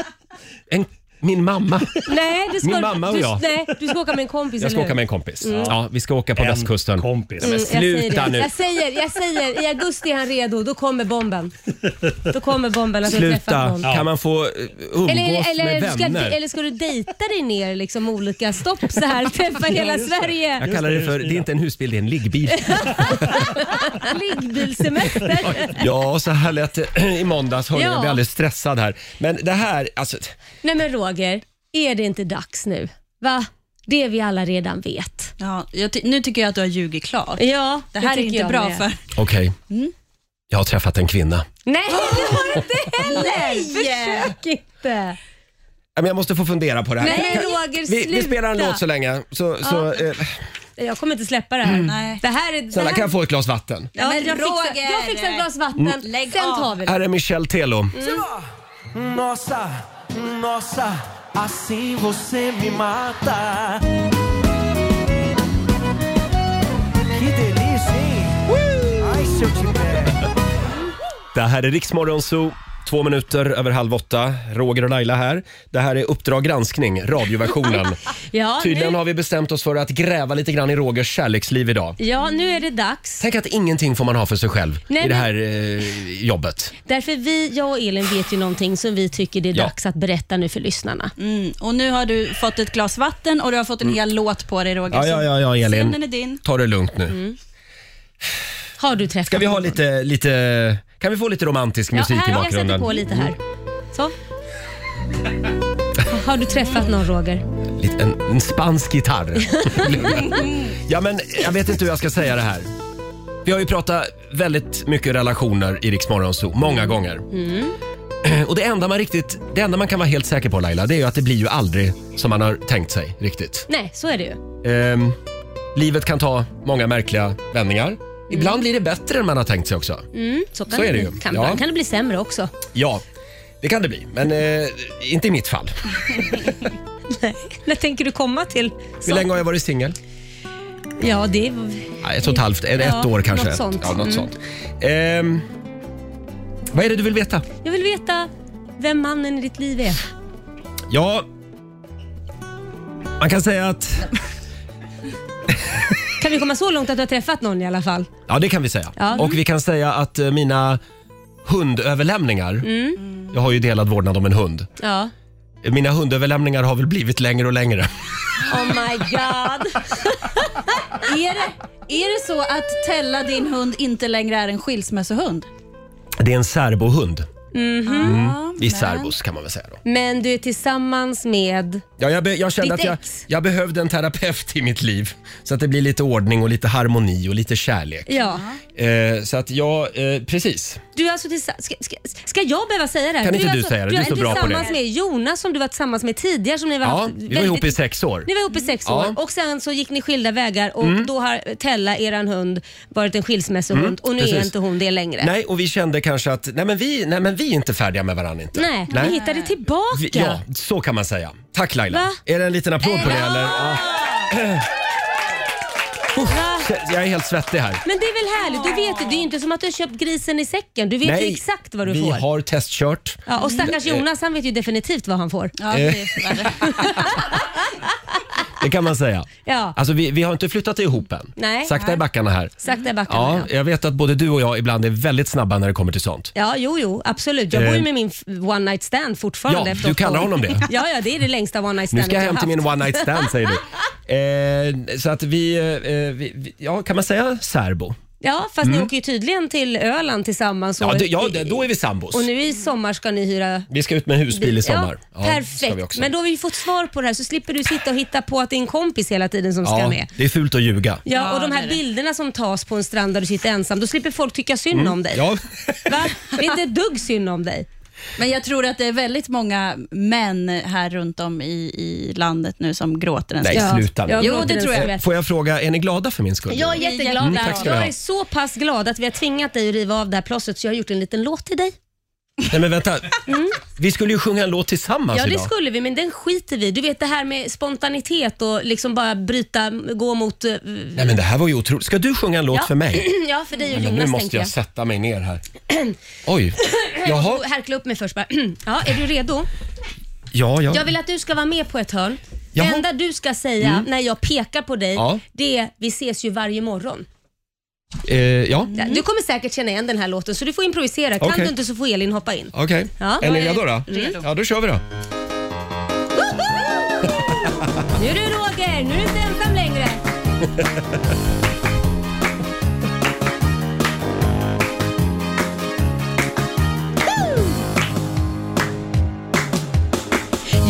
en, min mamma.
Nej, det ska
Min
du-
mamma och
du,
jag.
Nej, du ska åka med en kompis
Jag ska åka
eller hur? Mm.
med en kompis. Ja, vi ska åka på
En
västkusten.
kompis.
Men
Eh, jag
sluta
säger, det.
nu.
jag säger, jag säger, i augusti är han redo. Då kommer bomben. Då kommer bomben att du har träffat
Sluta.
någon.
Kan man få eh, umgås
Eller, eller,
med
ska,
vänner?
eller ska du dejta dig ner liksom olika stopp så här? Träffa hela Sverige.
jag kallar det för, det är inte en husbil, det är en liggbil.
Liggbilsemester.
Ja, så här lät det i måndags. Hörde
Ja. Mm.
Jag blev alldeles stressad här. Men det här, alltså,
Nej men Roger, är det inte dags nu? Va? Det vi alla redan vet.
Ja, jag ty- nu tycker jag att du har ljugit klart.
Ja,
Det här är
tycker
inte
jag
bra
med.
för...
okej. Jag har träffat en kvinna.
Nej, det har du inte heller! Försök inte.
Ja, men Jag måste få fundera på det här.
Nej,
Kan-
Roger,
vi, vi
sluta.
spelar en låt så länge. Så, så, eh,
Jag kommer inte släppa det här.
Mm. Nej.
Det här är... Det
snälla,
här...
kan jag få ett glas vatten?
Ja,
Men
jag, fixar,
Roger!
jag fixar ett glas vatten,
Lägg
sen
av.
tar vi det.
Här är Michel Telo.
Mm.
Nossa, nossa, assim você me mata. Que delícia, hein? Ai, se eu tiver.
Det här är Riksmorgon Zoo. Två minuter över halv åtta. Roger och Laila här. Det här är Uppdrag granskning, radioversionen.
Ja,
Tydligen
nu,
har vi bestämt oss för att gräva lite grann i Rogers kärleksliv idag.
ja, nu är det dags.
Tänk att ingenting får man ha för sig själv
Nej,
i det
men-
här eh, jobbet.
Därför vi, jag och Elin vet ju någonting som vi tycker det är
Ja.
dags att berätta nu för lyssnarna.
Mm, och nu har du fått ett glas vatten och du har fått en hel låt på dig Roger.
Mm. Ja, ja, ja, ja Elin.
Scenen är din.
Ta det lugnt nu.
Mm. Har du träffat
Ska vi ha lite, lite, kan vi få lite romantisk musik
här,
i
Jag
bakgrunden?
sätter på lite här. Så. Har du träffat någon Roger?
Lite- En, en spansk gitarr. ja, men jag vet inte hur jag ska säga det här. Vi har ju pratat väldigt mycket relationer i Rix Morgon Zoo, många gånger. Eh,
Mm.
Och det enda man riktigt, det enda man kan vara helt säker på Laila, det är ju att det blir ju aldrig som man har tänkt sig riktigt.
Nej, så är det ju. Mm,
Ehm, livet kan ta många märkliga vändningar. Ibland blir det bättre än man har tänkt sig också.
Mm, så kan
Så
det,
är det
bli.
ju.
Kan,
Ja.
ibland kan det bli sämre också.
Ja, det kan det bli, men eh, inte i mitt fall.
När tänker du komma till?
Hur länge har jag varit singel?
Ja, det är...
Ja, Ett och ett halvt, ett,
Mm. Ja,
ett år kanske.
något sånt.
Ja, något
Mm.
sånt. Ehm, vad är det du vill veta?
Jag vill veta vem mannen i ditt liv är.
Ja, man kan säga att...
Kan vi komma så långt att du har träffat någon i alla fall?
Ja, det kan vi säga.
Ja.
Och vi kan säga att eh, mina hundöverlämningar,
Mm.
jag har ju delad vårdnad om en hund.
Ja.
Mina hundöverlämningar har väl blivit längre och längre.
Oh my god.
Är det, är det så att Tella, din hund, inte längre är en skilsmässohund?
Det är en serbohund.
Mhm.
Mm. Vi är serbos kan man väl säga då.
Men du är tillsammans med...
Ja, jag, be- jag kände
Ditt
att jag,
ex.
jag behövde en terapeut i mitt liv. Så att det blir lite ordning och lite harmoni och lite kärlek.
Ja.
Eh, så att jag, eh, precis.
Du är alltså tillsammans... Ska, ska, ska jag behöva säga det här?
Kan
är
inte du
alltså,
säga det? Du är så bra på det.
tillsammans med Jonas som du var tillsammans med tidigare. Som ni var
Ja,
haft
vi var
väldigt-
ihop i sex år.
Ni var ihop i sex
Ja.
år och sen så gick ni skilda vägar och
Mm.
då har Tella, eran hund, varit en skilsmässohund
Mm,
och nu är
precis.
inte hon det längre.
Nej, och vi kände kanske att nej, men vi, nej, men vi är inte färdiga med varandra inte.
Nej,
Nej.
vi hittade tillbaka.
Vi, ja, så kan man säga. Tack Laila.
Va?
Är det en liten applåd på det eller? Ja. Uff, jag är helt svettig här.
Men det är väl härligt? Du vet, ju, det är ju inte som att du har köpt grisen i säcken. Du vet ju exakt vad du
vi
får.
har testkört.
Ja, och stackars
Eh,
Jonas, han vet ju definitivt vad han får.
Ja, det är Det kan man säga.
Ja.
Alltså, vi, vi har inte flyttat ihop än.
Nej.
Sakta i backarna här.
Sakta i backarna,
Ja, jag vet att både du och jag ibland är väldigt snabba när det kommer till sånt.
Ja, jo, jo, absolut. Jag bor ju
Eh.
med min f- one night stand fortfarande.
Ja,
efter
du
åtta
kallar
år.
honom det?
Ja, ja, det är det längsta one night stand
Nu ska jag hem till min one night stand säger du. Eh, så att vi, eh, vi, vi, ja kan man säga särbo?
Ja, fast ni
Mm.
åker ju tydligen till Öland tillsammans. Och,
Ja, det, ja det, då är vi sambos.
och nu i sommar ska ni hyra...
Vi ska ut med husbil i sommar.
Ja,
Ja, ska
perfekt,
vi också.
men då har vi ju fått svar på det här så slipper du sitta och hitta på att det är en kompis hela tiden som ska
ja,
med.
det är fult att ljuga.
Ja, och de här bilderna som tas på en strand där du sitter ensam, då slipper folk tycka synd
Mm,
om dig.
Ja,
Va? Det är inte ett dugg synd om dig.
Men jag tror att det är väldigt många män här runt om i, i landet nu som gråter en
nej
skvätt.
sluta nu.
Jo, det tror jag.
Eh, Får jag fråga, är ni glada för min skull?
Jag är jätteglad.
Mm, tack ska du
jag
ha.
är så pass glad att vi har tvingat dig att riva av det här plåstret så jag har gjort en liten låt till dig.
Nej men vänta, vi skulle ju sjunga en låt tillsammans
Mm. ja, det
Alltså idag.
skulle vi, men den skiter vi i. Du vet det här med spontanitet och liksom bara bryta, gå mot... eh,
Nej men det här var ju otroligt. Ska du sjunga en låt
ja.
för mig?
ja, för dig och
Nej, men nu
Jonas
måste
tänkte
jag,
jag.
sätta mig ner här. Oj,
Jag
jaha.
måste Härkla upp mig först bara. ja, är du redo?
Ja, ja.
Jag vill att du ska vara med på ett hörn.
Jaha.
Det enda du ska säga
Mm.
när jag pekar på dig,
Ja.
det är vi ses ju varje morgon.
Eh, ja.
Ja, Du kommer säkert känna igen den här låten så du får improvisera. Kan
Okej.
du inte så får Elin hoppa in.
Okej,
Ja.
är ni redo då?
Redo.
Ja, då kör vi då.
Nu är du Roger, nu är du inte ensam längre.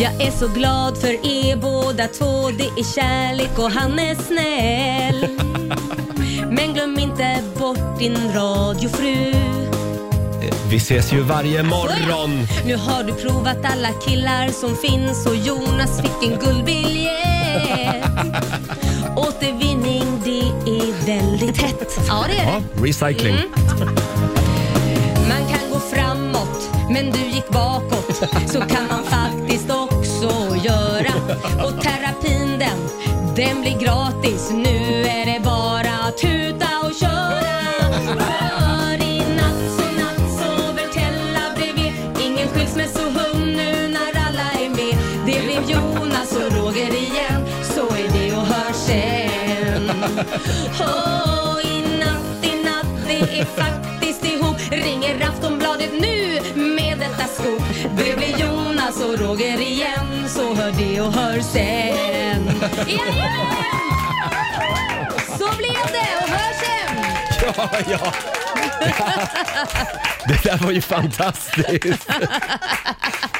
Jag är så glad för er båda två, det är kärlek och han är snäll. Men glöm inte bort din radiofru.
Eh, Vi ses ju varje morgon.
Nu har du provat alla killar som finns och Jonas fick en guldbiljett. Återvinning, det är väldigt hett. Ja, det är
Ja,
det.
recycling.
Mm. Man kan gå framåt, men du gick bakåt. Så kan man faktiskt också göra. Och terapin den, den blir gratis. Nu är det bara att tuta och köra. För i natt så natt sover Tella bredvid
frågor igen så är det och hör sen.
Åh, i natt, i natt, det är faktiskt ihop. Ringer Aftonbladet nu med detta skop.
Det blir Jonas och Roger igen så hör det och hör sen.
Så blir det och hörs sen!
Ja, ja. Det där var ju fantastiskt.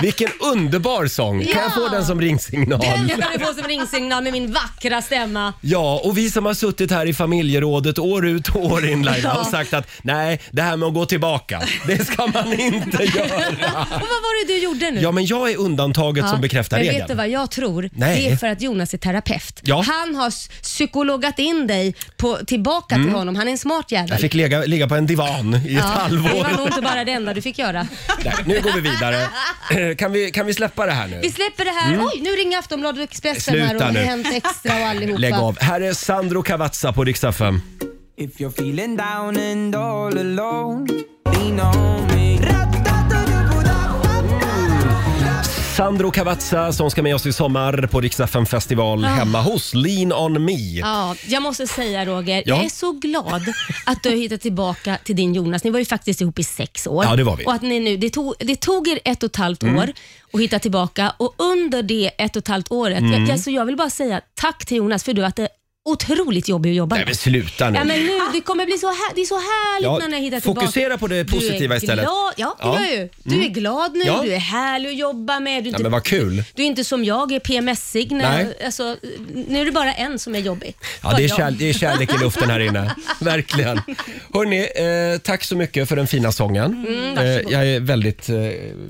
Vilken underbar sång. Kan jag få
Ja.
den som ringsignal?
Den ska du få som ringsignal med min vackra stämma.
Ja, och vi som har suttit här i familjerådet år ut och år in Laila,
Ja.
har sagt att nej, det här med att gå tillbaka, det ska man inte göra.
Och vad var det du gjorde nu?
Ja, men jag är undantaget
Ja,
som bekräftar
men
regeln.
vet du vad jag tror?
Nej.
Det är för att Jonas är terapeut.
Ja.
Han har s- psykologat in dig på, tillbaka
Mm.
till honom. Han är en smart jävel.
Jag fick ligga, ligga på en divan i ett
Det
halvår.
var nog inte bara det enda du fick göra.
Nej, nu går vi vidare. Eh, Kan vi, kan vi släppa det här nu?
Vi släpper det här.
Mm.
Oj, nu ringer Aftonbladet och Expressen
Sluta
här och
nu.
Hänt Extra och allihopa.
Lägg av. Här är Sandro Cavazza på Rix FM.
If you're feeling down and all alone, lean on me.
Sandro Cavazza som ska med oss i sommar på Rix FM festival
Ah.
hemma hos Lean on me.
Ja, jag måste säga Roger,
Ja.
jag är så glad att du har hittat tillbaka till din Jonas. Ni var ju faktiskt ihop i sex år.
Ja, det var vi.
Och att ni nu, det, tog, det tog er ett och ett halvt
Mm.
år att hitta tillbaka och under det ett och ett halvt året,
Mm.
jag, alltså jag vill bara säga tack till Jonas för du har haft det otroligt jobbigt att jobba
Nej
med.
men sluta nu.
Ja, men nu, det kommer bli så, här, det är så härligt
Ja,
när ni har hittat tillbaka.
fokusera på det positiva
du är
istället.
Glad, ja, det
Ja.
var ju. Du
Mm.
är glad nu,
Ja.
du är härlig att jobba med. Du är
Nej,
inte-
men vad kul.
du är inte som jag, är PMSig.
Nej.
När, alltså, nu är det bara en som är jobbig.
Ja,
Bara
det är,
jag.
kär, det är kärlek i luften här inne. Verkligen. Hörni, eh, tack så mycket för den fina sången.
Mm,
eh,
varsågod.
jag är väldigt, eh,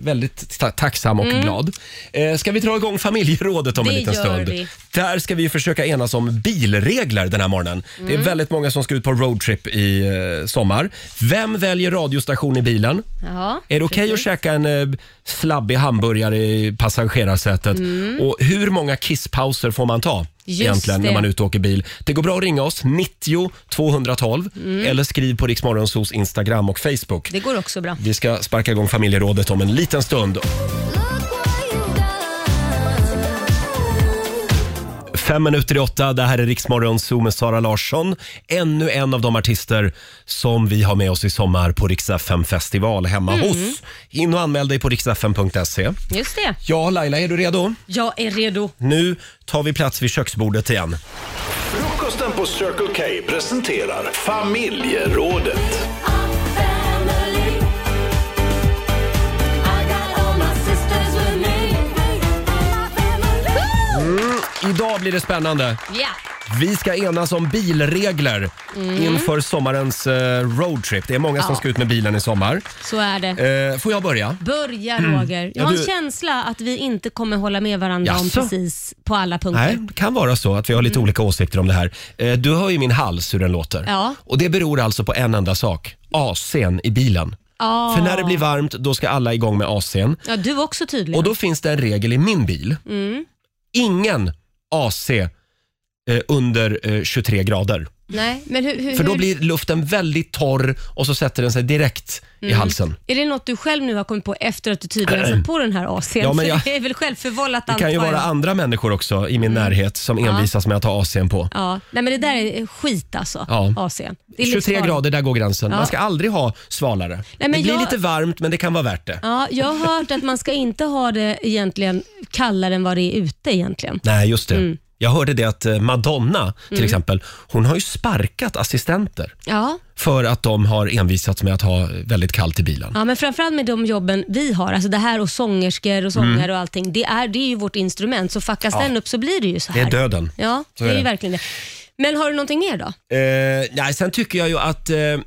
väldigt ta- tacksam och
Mm.
glad. Eh, ska vi dra igång familjerådet om en
Det
liten
gör
stund?
vi.
Där ska vi ju försöka enas om bilregler den här morgonen. Det är
Mm.
väldigt många som ska ut på roadtrip i eh, sommar. Vem väljer radiostation i bilen?
Ja,
Är det okej att käka en eh, slabbig hamburgare i passagerarsätet?
Mm.
Och hur många kisspauser får man ta
Just
egentligen när
det.
man är ute och åker bil? Det går bra att ringa oss, 90 212
Mm.
eller skriv på Riksmorgonsos Instagram och Facebook.
Det går också bra.
Vi ska sparka igång familjerådet om en liten stund. Fem minuter i åtta, det här är Riksmorgon Zoo med Sara Larsson. Ännu en av de artister som vi har med oss i sommar på Rix FM festival hemma
Mm.
hos. In och anmäl dig på riksfm.se.
Just det.
E. Ja, Laila, är du redo?
Jag är redo.
Nu tar vi plats vid köksbordet igen.
Frukosten på Circle K presenterar familjerådet.
Mm, idag blir det spännande.
Ja.
Vi ska enas om bilregler
Mm.
inför sommarens eh, roadtrip. Det är många som
Ja.
ska ut med bilen i sommar.
Så är det.
Eh, får jag börja?
Börja
Mm.
Roger.
Ja,
Jag har en
du-
känsla att vi inte kommer hålla med varandra om
Jaså?
precis på alla punkter.
Nej, det kan vara så att vi har
Mm.
lite olika åsikter om det här. Eh, Du hör ju min hals hur den låter.
Ja.
Och det beror alltså på en enda sak. AC'n i bilen.
Ah.
För när det blir varmt, då ska alla igång med AC'n.
Ja, du också tydligen.
Och då finns det en regel i min bil.
Mm.
Ingen AC eh, under eh, 23 grader.
Nej, men hur, hur,
För då
hur-
blir luften väldigt torr och så sätter den sig direkt i
Mm.
halsen.
Är det något du själv nu har kommit på efter att du tydligen har satt på den här AC'n?
Ja, men
För
jag-
Det är väl självförvållat
Det kan ju
antar
vara
jag.
andra människor också i min närhet som
Mm. Ja.
envisas med att ha AC'n på.
Ja, nej men det där är skit alltså.
Ja.
AC'n. Det är
23
livsfarligt.
grader, där går gränsen.
Ja.
Man ska aldrig ha svalare.
men
det blir
jag-
lite varmt men det kan vara värt det.
Ja, jag har hört att man ska inte ha det egentligen kallare än vad det är ute egentligen.
Nej, just det.
Mm.
Jag hörde det att eh, Madonna till
Mm.
exempel, hon har ju sparkat assistenter
Ja.
för att de har envisats med att ha väldigt kallt i bilen.
ja, men framförallt med de jobben vi har, alltså det här och sångerskor och sångare
Mm.
och allting, det är, det är ju vårt instrument. Så fuckas
Ja.
den upp så blir det ju så
Det
här.
är döden.
Ja,
Så
det
är
är ju
det.
verkligen det. Men har du någonting mer då?
Eh, nej, sen tycker jag ju att eh, eh,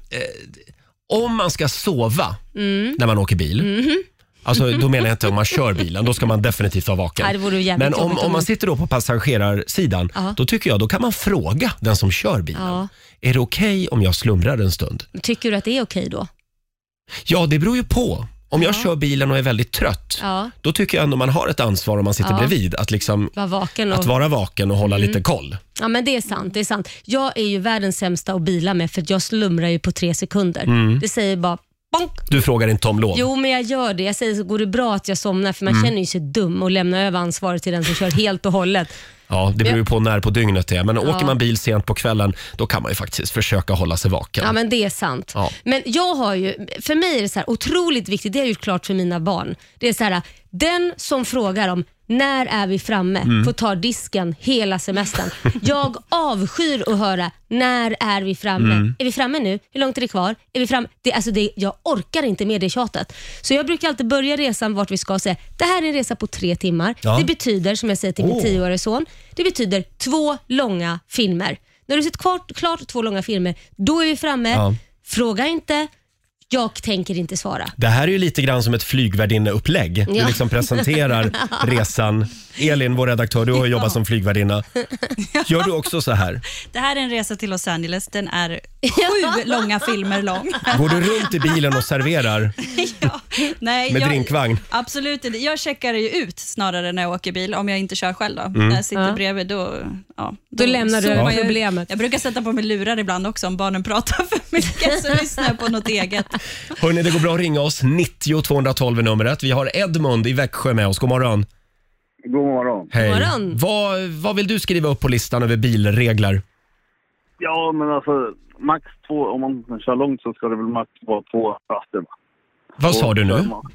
om man ska sova
Mm.
när man åker bil,
Mhm.
Alltså, då menar jag inte om man kör bilen, då ska man definitivt vara vaken.
Nej, det vore ju jävligt
Men om,
jobbigt om
om man
man-
sitter då på passagerarsidan,
Ja.
då tycker jag då kan man fråga den som kör bilen.
Ja.
Är det okej om jag slumrar en stund?
Tycker du att det är okej då?
Ja, det beror ju på. Om jag kör bilen och är väldigt trött,
Ja,
då tycker jag ändå man har ett ansvar om man sitter
Ja.
bredvid att, liksom,
vara vaken och...
att vara vaken och hålla
Mm.
lite koll.
Ja, men det är sant. Det är sant. Jag är ju världens sämsta att bila med för att jag slumrar ju på tre sekunder.
Mm.
Det säger bara bonk.
Du frågar inte om lov.
Jo, men jag gör det. Jag säger så går det bra att jag somnar, för man
Mm.
känner ju sig dum och lämnar över ansvaret till den som kör helt och hållet.
Ja, det beror ju på när på dygnet det är. Men
Ja.
åker man bil sent på kvällen, då kan man ju faktiskt försöka hålla sig vaken.
Ja, men det är sant.
Ja.
Men jag har ju, för mig är det så här otroligt viktigt, det har jag gjort klart för mina barn. Det är så här, den som frågar om när är vi framme
Mm.
får ta disken hela semestern. Jag avskyr att höra när är vi framme?
Mm.
Är vi framme nu? Hur långt är det kvar? Är vi framme? Det, alltså det, jag orkar inte med det tjatet. Så jag brukar alltid börja resan vart vi ska och säga, det här är en resa på tre timmar.
Ja. Oh.
Det betyder, som jag säger till min
Åh.
tioårige tioårig son. Det betyder två långa filmer. När du sett klart, klart två långa filmer, då är vi framme.
Ja.
Fråga inte, jag tänker inte svara.
Det här är ju lite grann som ett flygvärdinna-upplägg. Du
Ja.
liksom presenterar resan. Elin, vår redaktör, du har ju jobbat som flygvärdinna. Gör du också så här?
Det här är en resa till Los Angeles. Den är sju långa filmer lång.
Går du runt i bilen och serverar
Nej,
med
jag,
drinkvagn?
Absolut inte. Jag checkar ju ut snarare när jag åker bil, om jag inte kör själv. Då.
Mm.
När jag sitter
Ja.
bredvid, då... Ja,
Då lämnar du
zoomar
över
jag ut.
problemet.
Jag brukar sätta på mig lurar ibland också om barnen pratar för mycket, så lyssnar jag på något eget.
Hörni, det går bra att ringa oss. 90 212 är numret. Vi har Edmund i Växjö med oss. God morgon.
God morgon.
Hej.
God morgon.
Vad, vad vill du skriva upp på listan över bilregler?
Ja, men alltså max två, om man kör långt så ska det väl max vara två raster. va?
Vad
Två
sa du nu?
körma-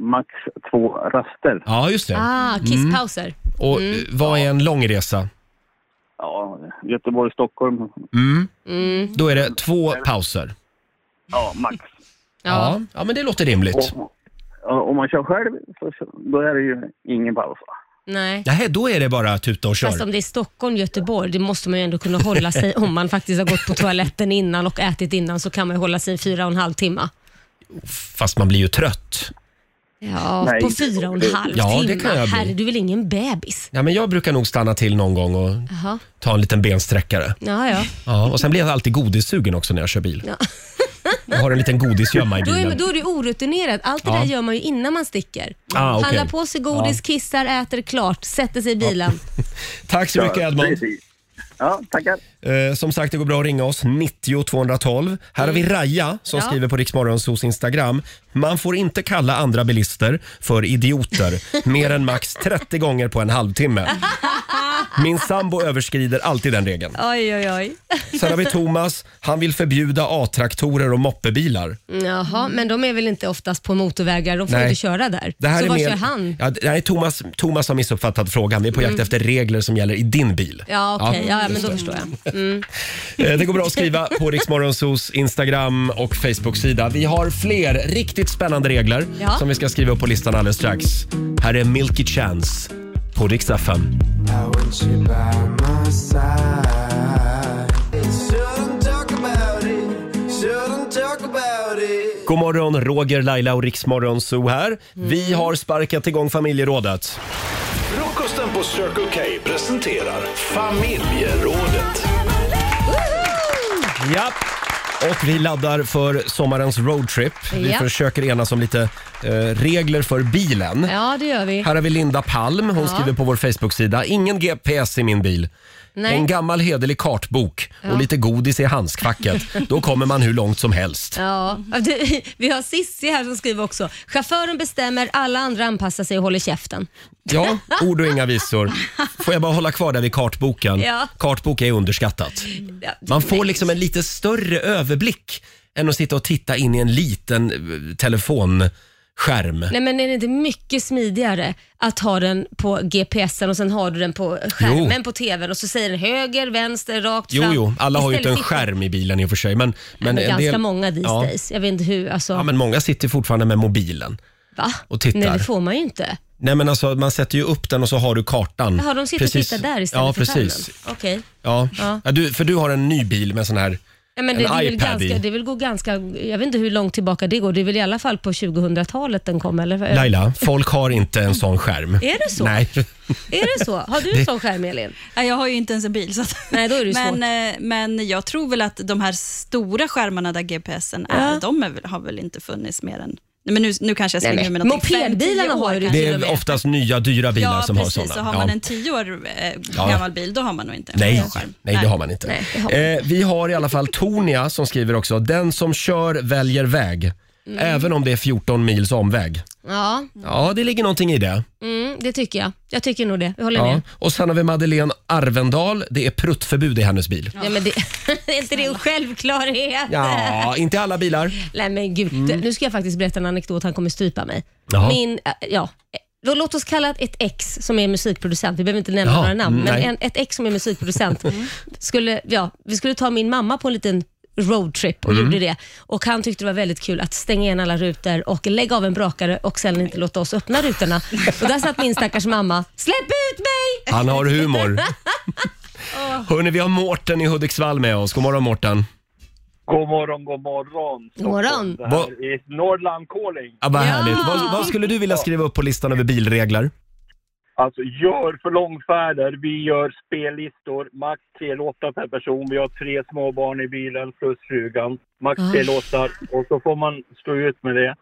Max två raster.
Ja, just det.
Ah, mm. kisspauser.
Och eh, vad är en lång resa?
Ja, Göteborg, Stockholm.
Mm.
Mm.
Då är det två pauser.
Ja, max.
Ja. ja, men det låter rimligt.
Och, ja, om man kör själv, så, då är det ju ingen paus. va?
Nej.
Nej, då är det bara tuta och kör.
Fast om det är Stockholm, Göteborg, det måste man ju ändå kunna hålla sig. Om man faktiskt har gått på toaletten innan och ätit innan så kan man ju hålla sig i fyra och en halv timme.
Fast man blir ju trött.
Ja,
Nej.
på fyra och en halv
Ja,
timme.
det kan jag bli.
Herre, du är väl ingen bebis?
Ja, men jag brukar nog stanna till någon gång och
Jaha.
ta en liten bensträckare.
Ja, ja.
Ja, och sen blir jag alltid godissugen också när jag kör bil.
Ja.
Jag har en liten godisgömma i
Då är,
bilen.
då är du orutinerad. Allt det
Ja.
där gör man ju innan man sticker.
Ah, okej.
Handlar på sig godis,
Ja.
kissar, äter klart, sätter sig i bilen.
Tack så mycket Edmond.
Ja, tackar.
Eh, som sagt, det går bra att ringa oss. 90 212. Här har
Mm.
vi Raja som
Ja.
skriver på Riksmorgonsos Instagram. Man får inte kalla andra bilister för idioter mer än max 30 gånger på en halvtimme. Min sambo överskrider alltid den regeln.
Oj, oj, oj.
Sen har vi Thomas. Han vill förbjuda A-traktorer och moppebilar.
Mm, Jaha, men de är väl inte oftast på motorvägar? De får
Nej.
inte köra där.
Det här
Så
är
vad
mer-
kör han?
Ja, det- nej, Thomas, Thomas har missuppfattat frågan. Vi är på jakt
Mm.
efter regler som gäller i din bil.
Ja, okej. Ja, men
just
då
det.
förstår jag. Mm.
Eh, Det går bra att skriva på Riksmorgonsos Instagram och Facebook-sida. Vi har fler riktigt spännande regler
Ja.
som vi ska skriva upp på listan alldeles strax. Här är Milky Chance på Rix FM. God morgon, Roger, Laila och Riksmorgonso här. Vi har sparkat igång familjerådet.
Frukosten på Circle K presenterar Familjerådet.
Ja. Och vi laddar för sommarens roadtrip. Vi
Ja.
försöker enas om lite eh, regler för bilen.
Ja, det gör vi.
Här har vi Linda Palm. Hon
Ja.
skriver på vår Facebook-sida. Ingen GPS i min bil.
Nej.
En gammal hederlig kartbok
Ja.
och lite godis i handskfacket. Då kommer man hur långt som helst.
Ja, du, vi har Sissi här som skriver också. Chauffören bestämmer, alla andra anpassar sig och håller käften.
Ja, ord och inga visor. Får jag bara hålla kvar där vid kartboken?
Ja.
Kartbok är underskattat.
Ja,
Man får liksom en lite större överblick än att sitta och titta in i en liten eh, telefonskärm.
Nej men är det inte mycket smidigare att ha den på GPSen och sen har du den på skärmen på TVn och så säger den höger, vänster, rakt
Jo,
fram.
jo, alla har ju inte en
Istället sitter-
skärm i bilen i och för sig. Men, men
Men
en
ganska
del-
många these
ja.
days. Jag vet inte hur, alltså.
Ja, men många sitter fortfarande med mobilen.
va?
och tittar.
Nej det får man ju inte.
Nej men alltså man sätter ju upp den och så har du kartan.
Jaha, de sitter
Precis.
och tittar där istället
ja,
för
precis.
skärmen? Okej.
Ja,
Ja.
Ja, du, för du har en ny bil med sån här,
Ja, men
en
det, det, är väl
iPad
ganska,
i.
det vill gå ganska, jag vet inte hur långt tillbaka det går. Det är väl i alla fall på 2000-talet den kom? Eller?
Laila, folk har inte en sån skärm.
Är det så?
Nej.
Är det så? Har du en
Det-
sån skärm Elin?
Nej, Jag har ju inte ens en bil. Så att...
Nej, då är det ju
men, eh,
svårt.
men jag tror väl att de här stora skärmarna där GPSen är, de är väl, har väl inte funnits mer än... Nej, men nu, nu kanske jag slänger
Nej,
ur mig
nej.
någonting. Fem,
Mopedbilarna
tio år
har ju det
kanske.
Det är oftast nya dyra bilar
ja,
som
precis.
har sådana.
Så har man
ja.
en tio år eh,
Ja.
gammal bil, då har man nog inte en
Nej,
skärm.
nej, det har man inte.
Nej, det har man
Eh, vi har i alla fall Tonia som skriver också, den som kör väljer väg.
Mm.
Även om det är 14 mils omväg.
Ja.
Ja, det ligger någonting i det.
Mm, det tycker jag. Jag tycker nog det. Jag håller
Ja.
med.
Och sen har vi Madeleine Arvendal. Det är pruttförbud i hennes bil.
Ja, men det, är inte det en självklarhet?
Ja, inte alla bilar.
Nej men gud, nu ska jag faktiskt berätta en anekdot. Han kommer strypa mig.
Jaha.
Min, äh, ja. Då Låt oss kalla ett ex som är musikproducent, vi behöver inte nämna
Jaha,
några
Mm,
namn, men
nej.
en, ett ex som är musikproducent. skulle, ja, vi skulle ta min mamma på en liten roadtrip och
Mm.
gjorde det. Och Han tyckte det var väldigt kul att stänga igen alla rutor och lägga av en brakare och sen inte låta oss öppna rutorna. Och där satt min stackars mamma. Släpp ut mig!
Han har humor. Hörni, vi har Mårten i Hudiksvall med oss. God morgon Mårten.
God morgon, god morgon.
God morgon.
Det här är Norrland calling.
Ja, vad härligt. Vad, vad skulle du vilja skriva upp på listan över bilregler?
Alltså, gör för långfärder. Vi gör spellistor. Max tre låtar per person. Vi har tre små barn i bilen plus frugan. Max tre
Ah.
låtar. Och så får man stå ut med det,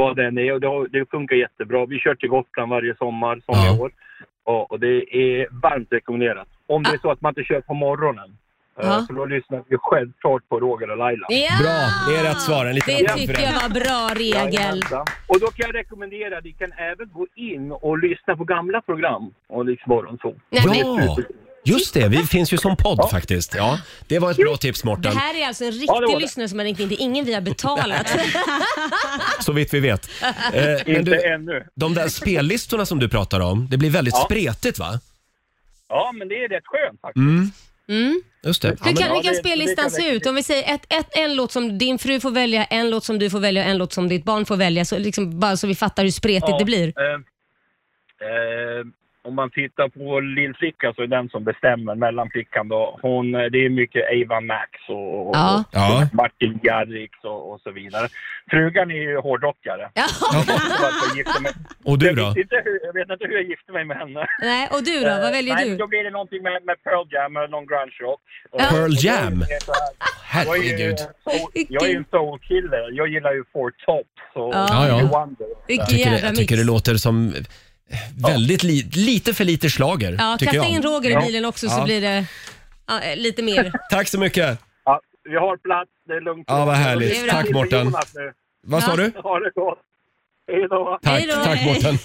vad den är. Och det, har, det funkar jättebra. Vi kör till Gotland varje sommar, som i år. Ja, och det är varmt rekommenderat. Om det är så att man inte kör på morgonen.
Ja.
eh, Så då lyssnar vi självklart på Roger och Laila.
Ja! Bra,
det är rätt svar. En
Det tycker jag var bra regel.
Jajamensan. Och då kan jag rekommendera, ni kan även gå in och lyssna på gamla program och liksom morgonsol.
Ja, just det. Vi finns ju som podd faktiskt. Ja, det var ett bra tips
Det
Mårten.
här är alltså en riktig
Ja, det var det.
lyssnare som har ringt in. Det är ingen vi har betalat.
Så vitt vi vet. Eh,
Inte ännu.
De där spellistorna som du pratar om, det blir väldigt
Ja.
spretigt va?
Ja, men det är rätt skönt faktiskt.
Mm. Just det.
Hur kan,
Ja,
hur
men-
kan
det-
spellistan
det kan
se ut? Om vi säger ett, ett, en låt som din fru får välja, en låt som du får välja och en låt som ditt barn får välja. Så liksom, bara så vi fattar hur spretigt
Ja,
det blir.
Eh, eh, om man tittar på lillflickan så är den som bestämmer mellanflickan då. Hon, eh, det är mycket Ava Max och, och,
Ja.
Ja.
och Martin Garrix och, och så vidare. Frugan är ju hårdrockare. Varför gifte mig-
Och du
Jag
då?
vet, inte hur, jag vet inte hur jag gifte mig med henne.
Nej, och du då? Vad
Eh,
väljer
nej,
du?
Då blir det någonting med, med Pearl Jam eller någon grunge rock.
Ja. Pearl Jam?
Herregud. Jag är ju en soulkille. Jag gillar ju Four Tops och
Ja. Ja, ja.
Stevie Wonder.
Jag tycker, det, jag tycker det låter som väldigt li, lite för lite slager.
Ja,
tycker
kasta
jag.
in Roger i
Ja.
bilen också så
Ja.
blir det ja, eh, lite mer.
Tack så mycket.
Ja, vi har plats, det är lugnt.
Ja, vad härligt.
Det är bra.
Tack, Mårten.
Jonas nu.
Vad sa Ja. du?
Ha det gott. Hej då.
Tack, tack Mårten.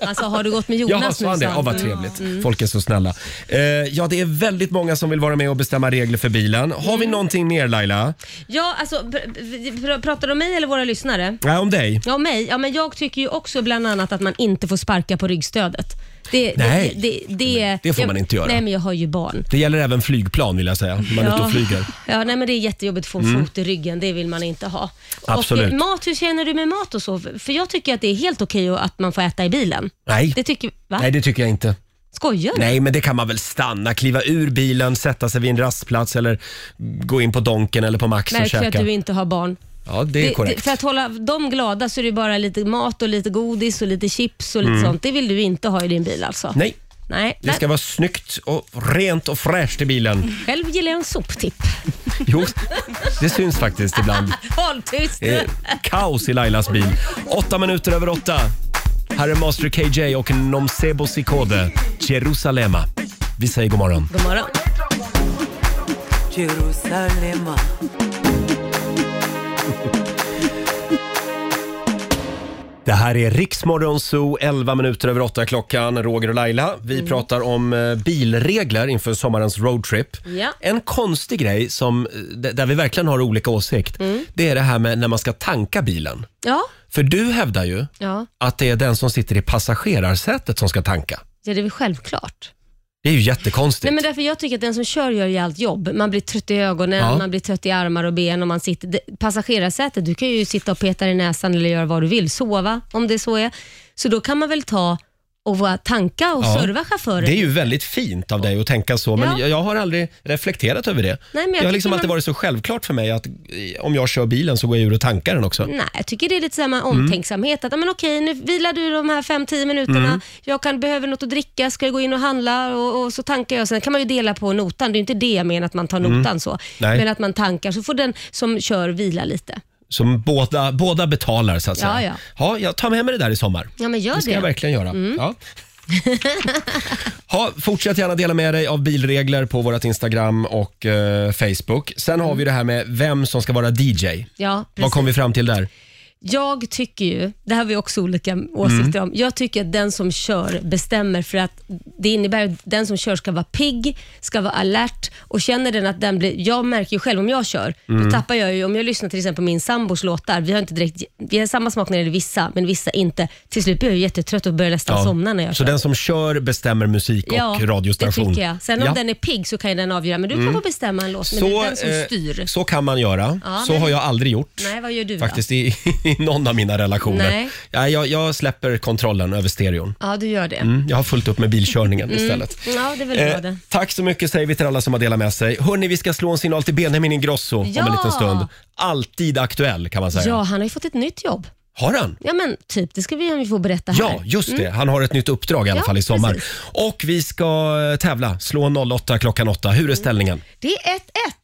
Alltså, har du gått med
Jaha,
Jonas
sa han
nu?
det?
sa
Ja,
han.
vad trevligt. Folk är så snälla. Eh, ja, det är väldigt många som vill vara med och bestämma regler för bilen. Har vi någonting mer Laila?
Ja, alltså, pr- pr- pratar du om mig eller våra lyssnare?
Nej, om dig.
Ja, mig. Ja, men jag tycker ju också bland annat att man inte får sparka på ryggstödet. Det,
Nej.
det, det, det,
det får
jag,
man inte göra.
Nej, men jag har ju barn.
Det gäller även flygplan vill jag säga, när man är ute och flyger.
Ja, nej, men det är jättejobbigt att få en
Mm.
fot i ryggen. Det vill man inte ha.
Absolut.
Och eh, mat, hur känner du med mat och så? För jag tycker att det är helt okej att man får äta i bilen.
Nej.
Det tycker, va?
Nej, det tycker jag inte.
Skojar du?
Nej, men det kan man väl stanna, kliva ur bilen, sätta sig vid en rastplats eller gå in på Donken eller på Max och
Märker du att
käka.
du inte har barn?
Ja, det är korrekt.
för att hålla dem glada så är det bara lite mat och lite godis och lite chips och lite
Mm.
sånt. Det vill du inte ha i din bil alltså?
Nej,
Nej.
det ska vara snyggt och rent och fräscht i bilen.
Själv gillar jag en soptipp.
Jo, det syns faktiskt ibland.
Håll tyst!
Det är kaos i Lailas bil. Åtta minuter över åtta. Här är Master KJ och Nomsebo Sikode, Jerusalema. Vi säger god morgon.
God morgon.
Jerusalema.
Det här är Riksmorgon Zoo, 11 minuter över åtta klockan. Roger och Laila. Vi
Mm.
pratar om eh, bilregler inför sommarens roadtrip.
Ja.
En konstig grej som, eh, d- där vi verkligen har olika åsikt,
Mm.
det är det här med när man ska tanka bilen.
Ja.
För du hävdar ju
Ja.
att det är den som sitter i passagerarsätet som ska tanka.
ja, det är väl självklart.
Det är ju jättekonstigt.
Nej, men därför jag tycker att den som kör gör ju allt jobb. Man blir trött i ögonen,
Ja.
man blir trött i armar och ben. Och man sitter, det- passagerarsätet, du kan ju sitta och peta i näsan eller göra vad du vill. Sova, om det så är. Så då kan man väl ta och vara- tanka och
Ja.
serva chauffören.
Det är ju väldigt fint av dig att tänka så, men
Ja.
jag, jag har aldrig reflekterat över det.
men jag
det har
tycker
liksom alltid
man-
varit så självklart för mig att eh, om jag kör bilen så går jag ur och tankar den också. Mm.
Nej, jag tycker det är lite så här med omtänksamhet. Att, ja, men okej, nu vilar du de här 5-10 minuterna.
Mm.
Jag kan, behöver något att dricka, ska jag gå in och handla och, och så tankar jag. Sen kan man ju dela på notan. Det är ju inte det jag menar att man tar
Mm.
notan så.
Nej.
Men att man tankar, så får den som kör vila lite.
Som båda, båda betalar så att
Ja,
säga.
ja.
ja, jag tar med mig det där i sommar.
Ja, men gör
Det
det.
ska jag verkligen göra.
Mm.
Ja. Ha, fortsätt gärna dela med dig av bilregler på vårt Instagram och eh, Facebook. Sen har vi det här med vem som ska vara DJ.
Mm. Ja,
Vad
precis.
kom vi fram till där?
Jag tycker ju, det här har vi också olika
Mm.
åsikter om, jag tycker att den som kör bestämmer för att det innebär att den som kör ska vara pigg, ska vara alert och känner den att den blir, jag märker ju själv om jag kör,
Mm.
då tappar jag ju, om jag lyssnar till exempel på min sambos låtar, vi har inte direkt, vi har samma smak när det gäller vissa, men vissa inte. Till slut blir jag ju jättetrött och börjar nästan somna när jag
Så
kör.
den som kör bestämmer musik och radiostation?
det tycker jag. Sen om
Ja.
den är pigg så kan ju den avgöra, men du
Mm.
kan få bestämma en låt, men det
Så,
är den som
eh,
styr.
så kan man göra.
Ja,
så
men-
har jag aldrig gjort.
Nej, vad gör du då?
Faktiskt i, i någon av mina relationer.
Nej.
Ja, jag, jag släpper kontrollen över stereon.
Ja, du gör det.
Mm, jag har fullt upp med bilkörningen
Mm.
istället.
Ja, det är väl
Eh,
bra det.
tack så mycket säger vi till alla som har delat med sig. Hörni, vi ska slå en signal till Benjamin Ingrosso om en
Ja!
liten stund. Alltid aktuell kan man säga.
Ja, han har ju fått ett nytt jobb.
Har han?
Ja, men typ. Det ska vi få berätta här.
Ja, just det.
Mm.
Han har ett nytt uppdrag i alla
Ja,
fall i sommar.
precis.
Och vi ska eh, tävla. Slå 08 klockan 8. Hur är ställningen?
Det är 1-1.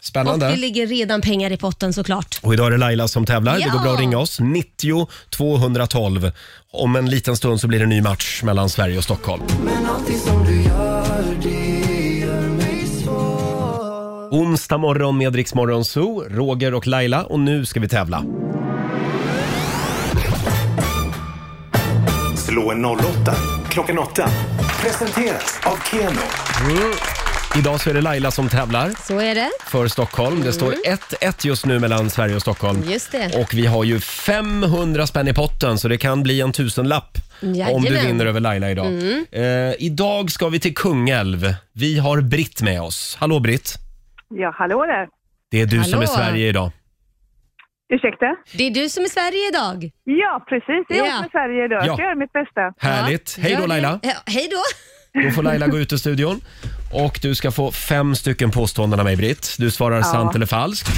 Spännande.
Och det ligger redan pengar i potten såklart.
Och idag är det Laila som tävlar. Det
Ja!
går bra att ringa oss. 90 212. Om en liten stund så blir det en ny match mellan Sverige och Stockholm.
Men allting som du gör, det gör mig svår
Onsdag morgon med Rix Morgon Zoo, Roger och Laila och nu ska vi tävla.
Slå en 08 klockan 8. Presenteras av Keno.
Idag så är det Laila som tävlar
Så är det.
för Stockholm. Det står 1-1 just nu mellan Sverige och Stockholm.
Mm. Just det.
Och vi har ju 500 spänn i potten så det kan bli en tusenlapp om du
Jajamän.
vinner över Laila idag.
Mm.
Eh, idag ska vi till Kungälv. Vi har Britt med oss. Hallå Britt!
Ja, hallå där.
Det är du som
Hallå.
är Sverige idag.
Ursäkta?
Det är du som är Sverige idag.
Ja, precis. Det är jag
Ja.
som är Sverige idag.
Ja.
Jag ska göra mitt bästa.
Härligt. Hej då Laila!
Ja, hej då.
Då får Laila gå ut ur studion. Och du ska få fem stycken påståenden av mig Britt. Du svarar
Ja.
sant eller falskt.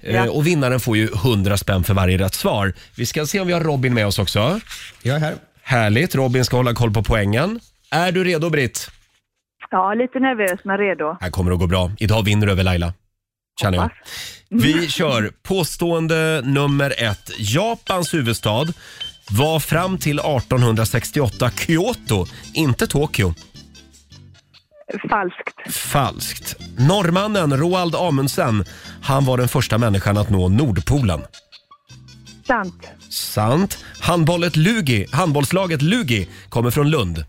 Eh,
Ja.
Och vinnaren får ju 100 spänn för varje rätt svar. Vi ska se om vi har Robin med oss också. Jag är här. Härligt. Robin ska hålla koll på poängen. Är du redo Britt?
Ja, lite nervös men redo.
här kommer det att gå bra. Idag vinner du över Laila. Känner jag. Vi kör påstående nummer ett. Japans huvudstad var fram till 1868 Kyoto, inte Tokyo.
Falskt.
Falskt. Norrmannen Roald Amundsen, han var den första människan att nå Nordpolen.
Sant.
Sant. Handbollet Lugi, handbollslaget Lugi kommer från Lund.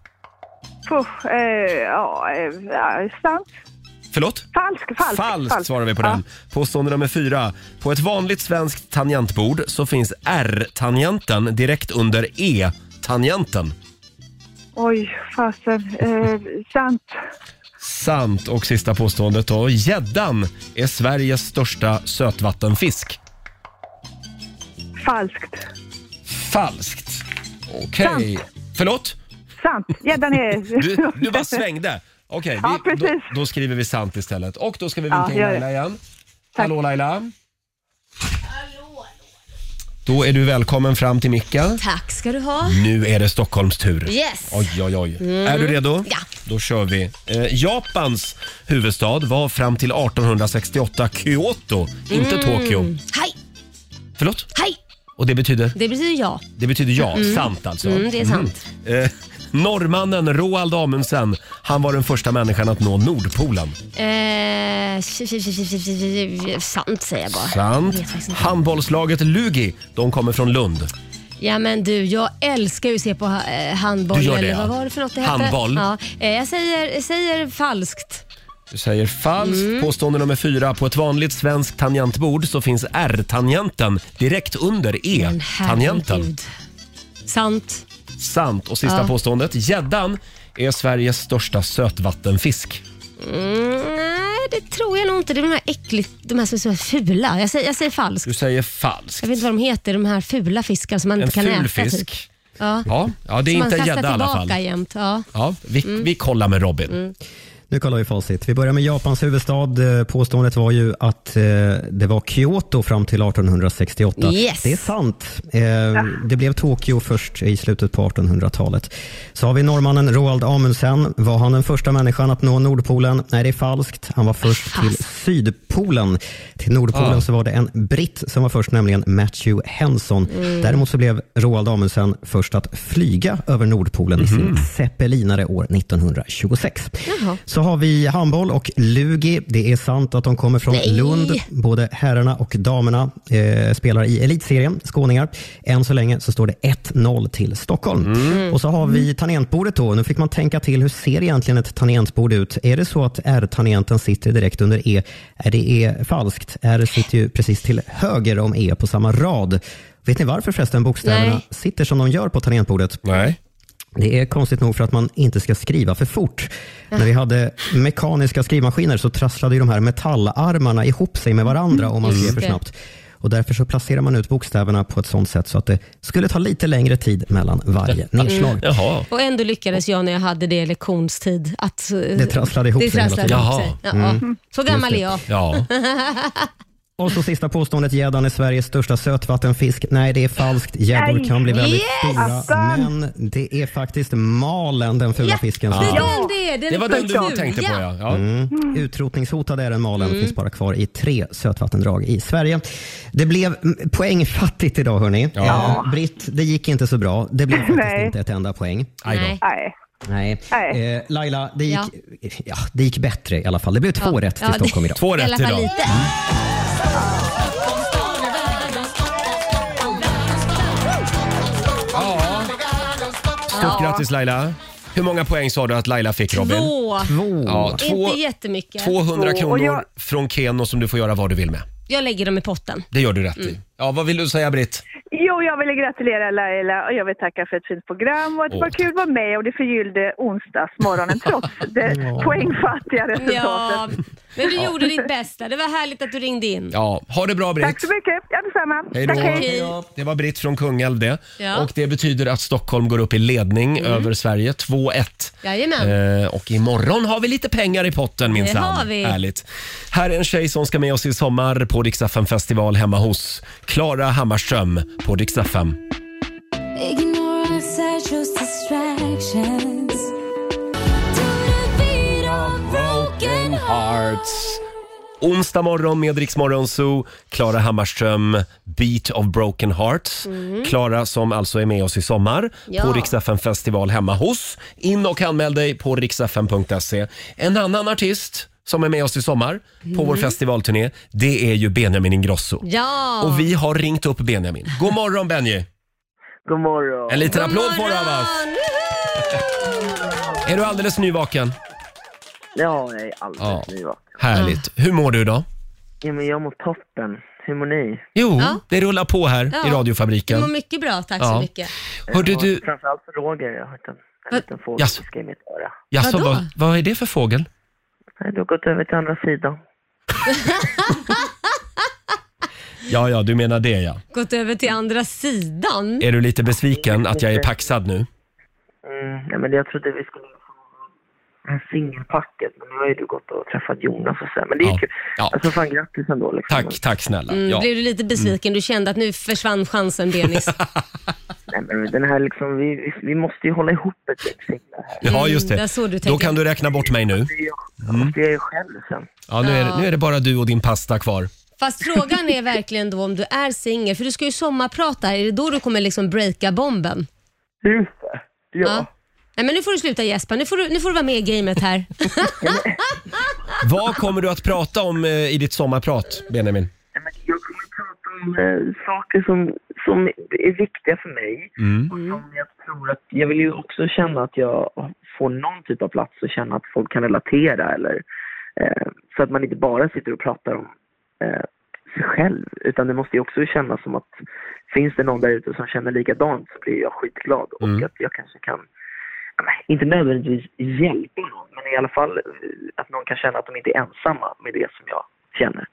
Puff, eh, ja, eh, ja, sant.
Förlåt?
Falskt, falskt.
Falskt, svarar vi på den. Påstående nummer fyra. På ett vanligt svenskt tangentbord så finns R-tangenten direkt under E-tangenten.
Oj, fasen. Eh, sant.
Sant. Och sista påståendet då. Gäddan är Sveriges största sötvattenfisk.
Falskt.
Falskt. Okej. Förlåt?
Sant. Gäddan är...
Du, du bara svängde. Okej,
Ja,
vi- då,
precis.
då skriver vi sant istället. Och då ska vi vinka
Ja,
in
gör det.
Laila igen. Hallå Laila. Då är du välkommen fram till micken.
Tack ska du ha.
Nu är det Stockholms tur.
Yes.
Oj, oj, oj.
Mm.
Är du redo?
Ja.
Då kör vi. Eh, Japans huvudstad var fram till 1868 Kyoto, inte
Mm.
Tokyo.
Hej,
Förlåt?
hej.
Och det betyder?
Det betyder ja.
Det betyder ja,
Mm.
sant alltså.
Mm, det är sant.
Mm. Eh, norrmannen Roald Amundsen, han var den första människan att nå Nordpolen.
Eh, tj- tj- tj- tj- tj- tj- tj- Eh, sant säger jag bara.
Sant.
Jag vet faktiskt inte.
Handbollslaget Lugi, de kommer från Lund.
Ja men du, jag älskar ju att se på eh, handboll.
Du gör det,
eller
ja.
vad var det för något det hette?
Handboll.
Ja, eh, jag säger, jag säger falskt.
Du säger falskt.
Mm.
Påstående nummer fyra. På ett vanligt svenskt tangentbord så finns R-tangenten direkt under E E-tangenten.
herregud. Sant.
Sant. Och sista
Ja.
påståendet. Gäddan är Sveriges största sötvattenfisk.
Mm, nej, det tror jag nog inte. Det är de här äckligt, de här som är så fula. Jag säger, jag säger falskt.
Du säger falskt.
Jag vet inte vad de heter, de här fula fiskar som man
En
inte kan
ful
äta.
fisk.
Typ. Ja.
Ja, ja det är
som
inte en
man kastar
gädda i alla
tillbaka Mm.
fall.
jämt. Ja.
Ja, vi, vi kollar med Robin.
Nu kollar vi facit. Vi börjar med Japans huvudstad. Eh, Påståendet var ju att eh, det var Kyoto fram till 1868.
Yes.
Det är sant. Eh, Det blev Tokyo först i slutet på 1800-talet. Så har vi norrmannen Roald Amundsen. Var han den första människan att nå Nordpolen? Nej, det är falskt. Han var först till Sydpolen. Till Nordpolen
Ja.
så var det en britt som var först, nämligen Matthew Henson.
Mm.
Däremot så blev Roald Amundsen först att flyga över Nordpolen i
Mhm.
sin zeppelinare år 1926. Så har vi handboll och Lugi. Det är sant att de kommer från
Nej.
Lund. Både herrarna och damerna eh, spelar i elitserien, skåningar. Än så länge så står det 1-0 till Stockholm. Och så har vi tangentbordet då. Nu fick man tänka till, hur ser egentligen ett tangentbord ut? Är det så att R-tangenten sitter direkt under E? Är det är falskt. R sitter ju precis till höger om E på samma rad. Vet ni varför förresten bokstäverna
Nej.
sitter som de gör på tangentbordet?
Nej.
Det är konstigt nog för att man inte ska skriva för fort. När vi hade mekaniska skrivmaskiner så trasslade ju de här metallarmarna ihop sig med varandra om man
Just
skrev för
det.
snabbt. Och därför så placerar man ut bokstäverna på ett sånt sätt så att det skulle ta lite längre tid mellan varje nedslag.
Jaha.
Och ändå lyckades jag när jag hade det i lektionstid att... eh,
Det trasslade ihop
det
sig hela
trasslade
tiden.
ihop sig. Ja,
Jaha.
ja.
Mm.
Så gammal är jag.
Just det. Ja. Och så sista påståendet, gäddan är Sveriges största sötvattenfisk. Nej, det är falskt. Gäddor
Nej.
kan bli väldigt
Yes!
stora,
Attan!
men det är faktiskt malen, den fula fisken. som
det är
finns.
den det är, den Det var den du fula. tänkte på, ja. Ja.
Mm.
Mm.
Utrotningshotad är den malen,
Mm.
finns bara kvar i tre sötvattendrag i Sverige. Det blev mm, poängfattigt idag, hörni.
Ja.
Eh, Britt, det gick inte så bra. Det blev faktiskt
Nej.
inte ett enda poäng.
Aj då. Nej.
Nej.
Nej.
Eh, Laila, det gick, ja. det gick bättre i alla fall. Det blev två rätt till Stockholm idag.
Ja. Stort grattis Laila. Hur många poäng sa du att Laila fick Robin?
Två.
Ja, två
Inte jättemycket.
200
Två. Och
kronor
Jag,
från Keno som du får göra vad du vill med.
jag lägger dem i potten.
Det gör du rätt i.
Mm.
Ja, vad vill du säga Britt?
Jo, jag vill gratulera Laila och jag vill tacka för ett fint program och att det var kul att vara med och det förgyllde onsdagsmorgonen trots det poängfattiga
Ja,
resultatet.
men du gjorde ditt bästa. Det var härligt att du ringde in.
Ja, ha det bra Britt.
Tack så mycket. Ja, detsamma.
Hej då.
Tack,
Hej då.
Det var Britt från Kungälv det.
Ja.
Och det betyder att Stockholm går upp i ledning
Mm.
över Sverige. 2-1.
Jajamän.
Eh, och imorgon har vi lite pengar i potten minsann.
har vi.
Härligt. Här är en tjej som ska med oss i sommar på Dixtafem festival hemma hos Klara Hammarström på Dixtafem.
Ignorance, I chose distractions.
Broken hearts. Onsdag morgon med Rix Morgon Zoo. Klara Hammarström, Beat of Broken Hearts.
Mm.
Klara som alltså är med oss i sommar
Ja.
på Rix FM festival hemma hos. In och anmäl dig på riksfm.se. En annan artist som är med oss i sommar på
Mm.
vår festivalturné, det är ju Benjamin Ingrosso.
Ja.
Och vi har ringt upp Benjamin. God morgon Benji!
God morgon!
En liten
God
applåd får du av
morgon!
oss. Är du alldeles nyvaken?
Ja, jag är alldeles
Ja.
nyvaken.
Härligt. Hur mår du idag?
Ja, men jag mår toppen. Hur mår ni?
Jo,
Ja.
det rullar på här
Ja.
i
Du
radiofabriken.
mår mycket bra, tack
Ja.
så mycket.
Hörde du-
Framförallt för Roger. Jag har hört en, en liten fågelviska i mitt öra.
Jaså,
Vadå?
vad, vad är det för fågel?
Nej, Du har gått över till andra sidan.
Ja, ja, du menar det ja.
Gått över till andra sidan.
Är du lite besviken att jag är paxad nu?
Mm, nej, men jag trodde vi skulle få en singelpacket, men nu har ju du gått och träffat Jonas och så. här. Men det är
Ja.
kul.
Ja.
Alltså fan grattis ändå liksom.
Tack, tack snälla.
Mm,
Eh, ja.
Blev du lite besviken? Du kände att nu försvann chansen, Benis.
Nej, men den här liksom, vi, vi, vi måste ju hålla ihop ett gäng singlar här.
Ja, just
Mm, där
det.
såg du
Då
tecken.
kan du räkna bort mig nu. Mm.
Det är jag själv sen.
Ja, nu är, det, nu är det bara du och din pasta kvar.
Fast frågan är verkligen då om du är singel, för du ska ju sommarprata. Är det då du kommer liksom breaka bomben?
Just det. Ja.
Nej, men nu får du sluta gäspa. Nu får du, nu får du vara med i gamet här.
Vad kommer du att prata om eh, i ditt sommarprat, Benjamin?
Eh, saker som, som är viktiga för mig.
Mm.
tror att jag vill ju också känna att jag får någon typ av plats och känna att folk kan relatera eller eh, så att man inte bara sitter och pratar om eh, sig själv utan det måste ju också kännas som att finns det någon där ute som känner likadant så blir jag skitglad och att jag kanske kan inte nödvändigtvis hjälpa någon men i alla fall eh, att någon kan känna att de inte är ensamma med det som jag känner.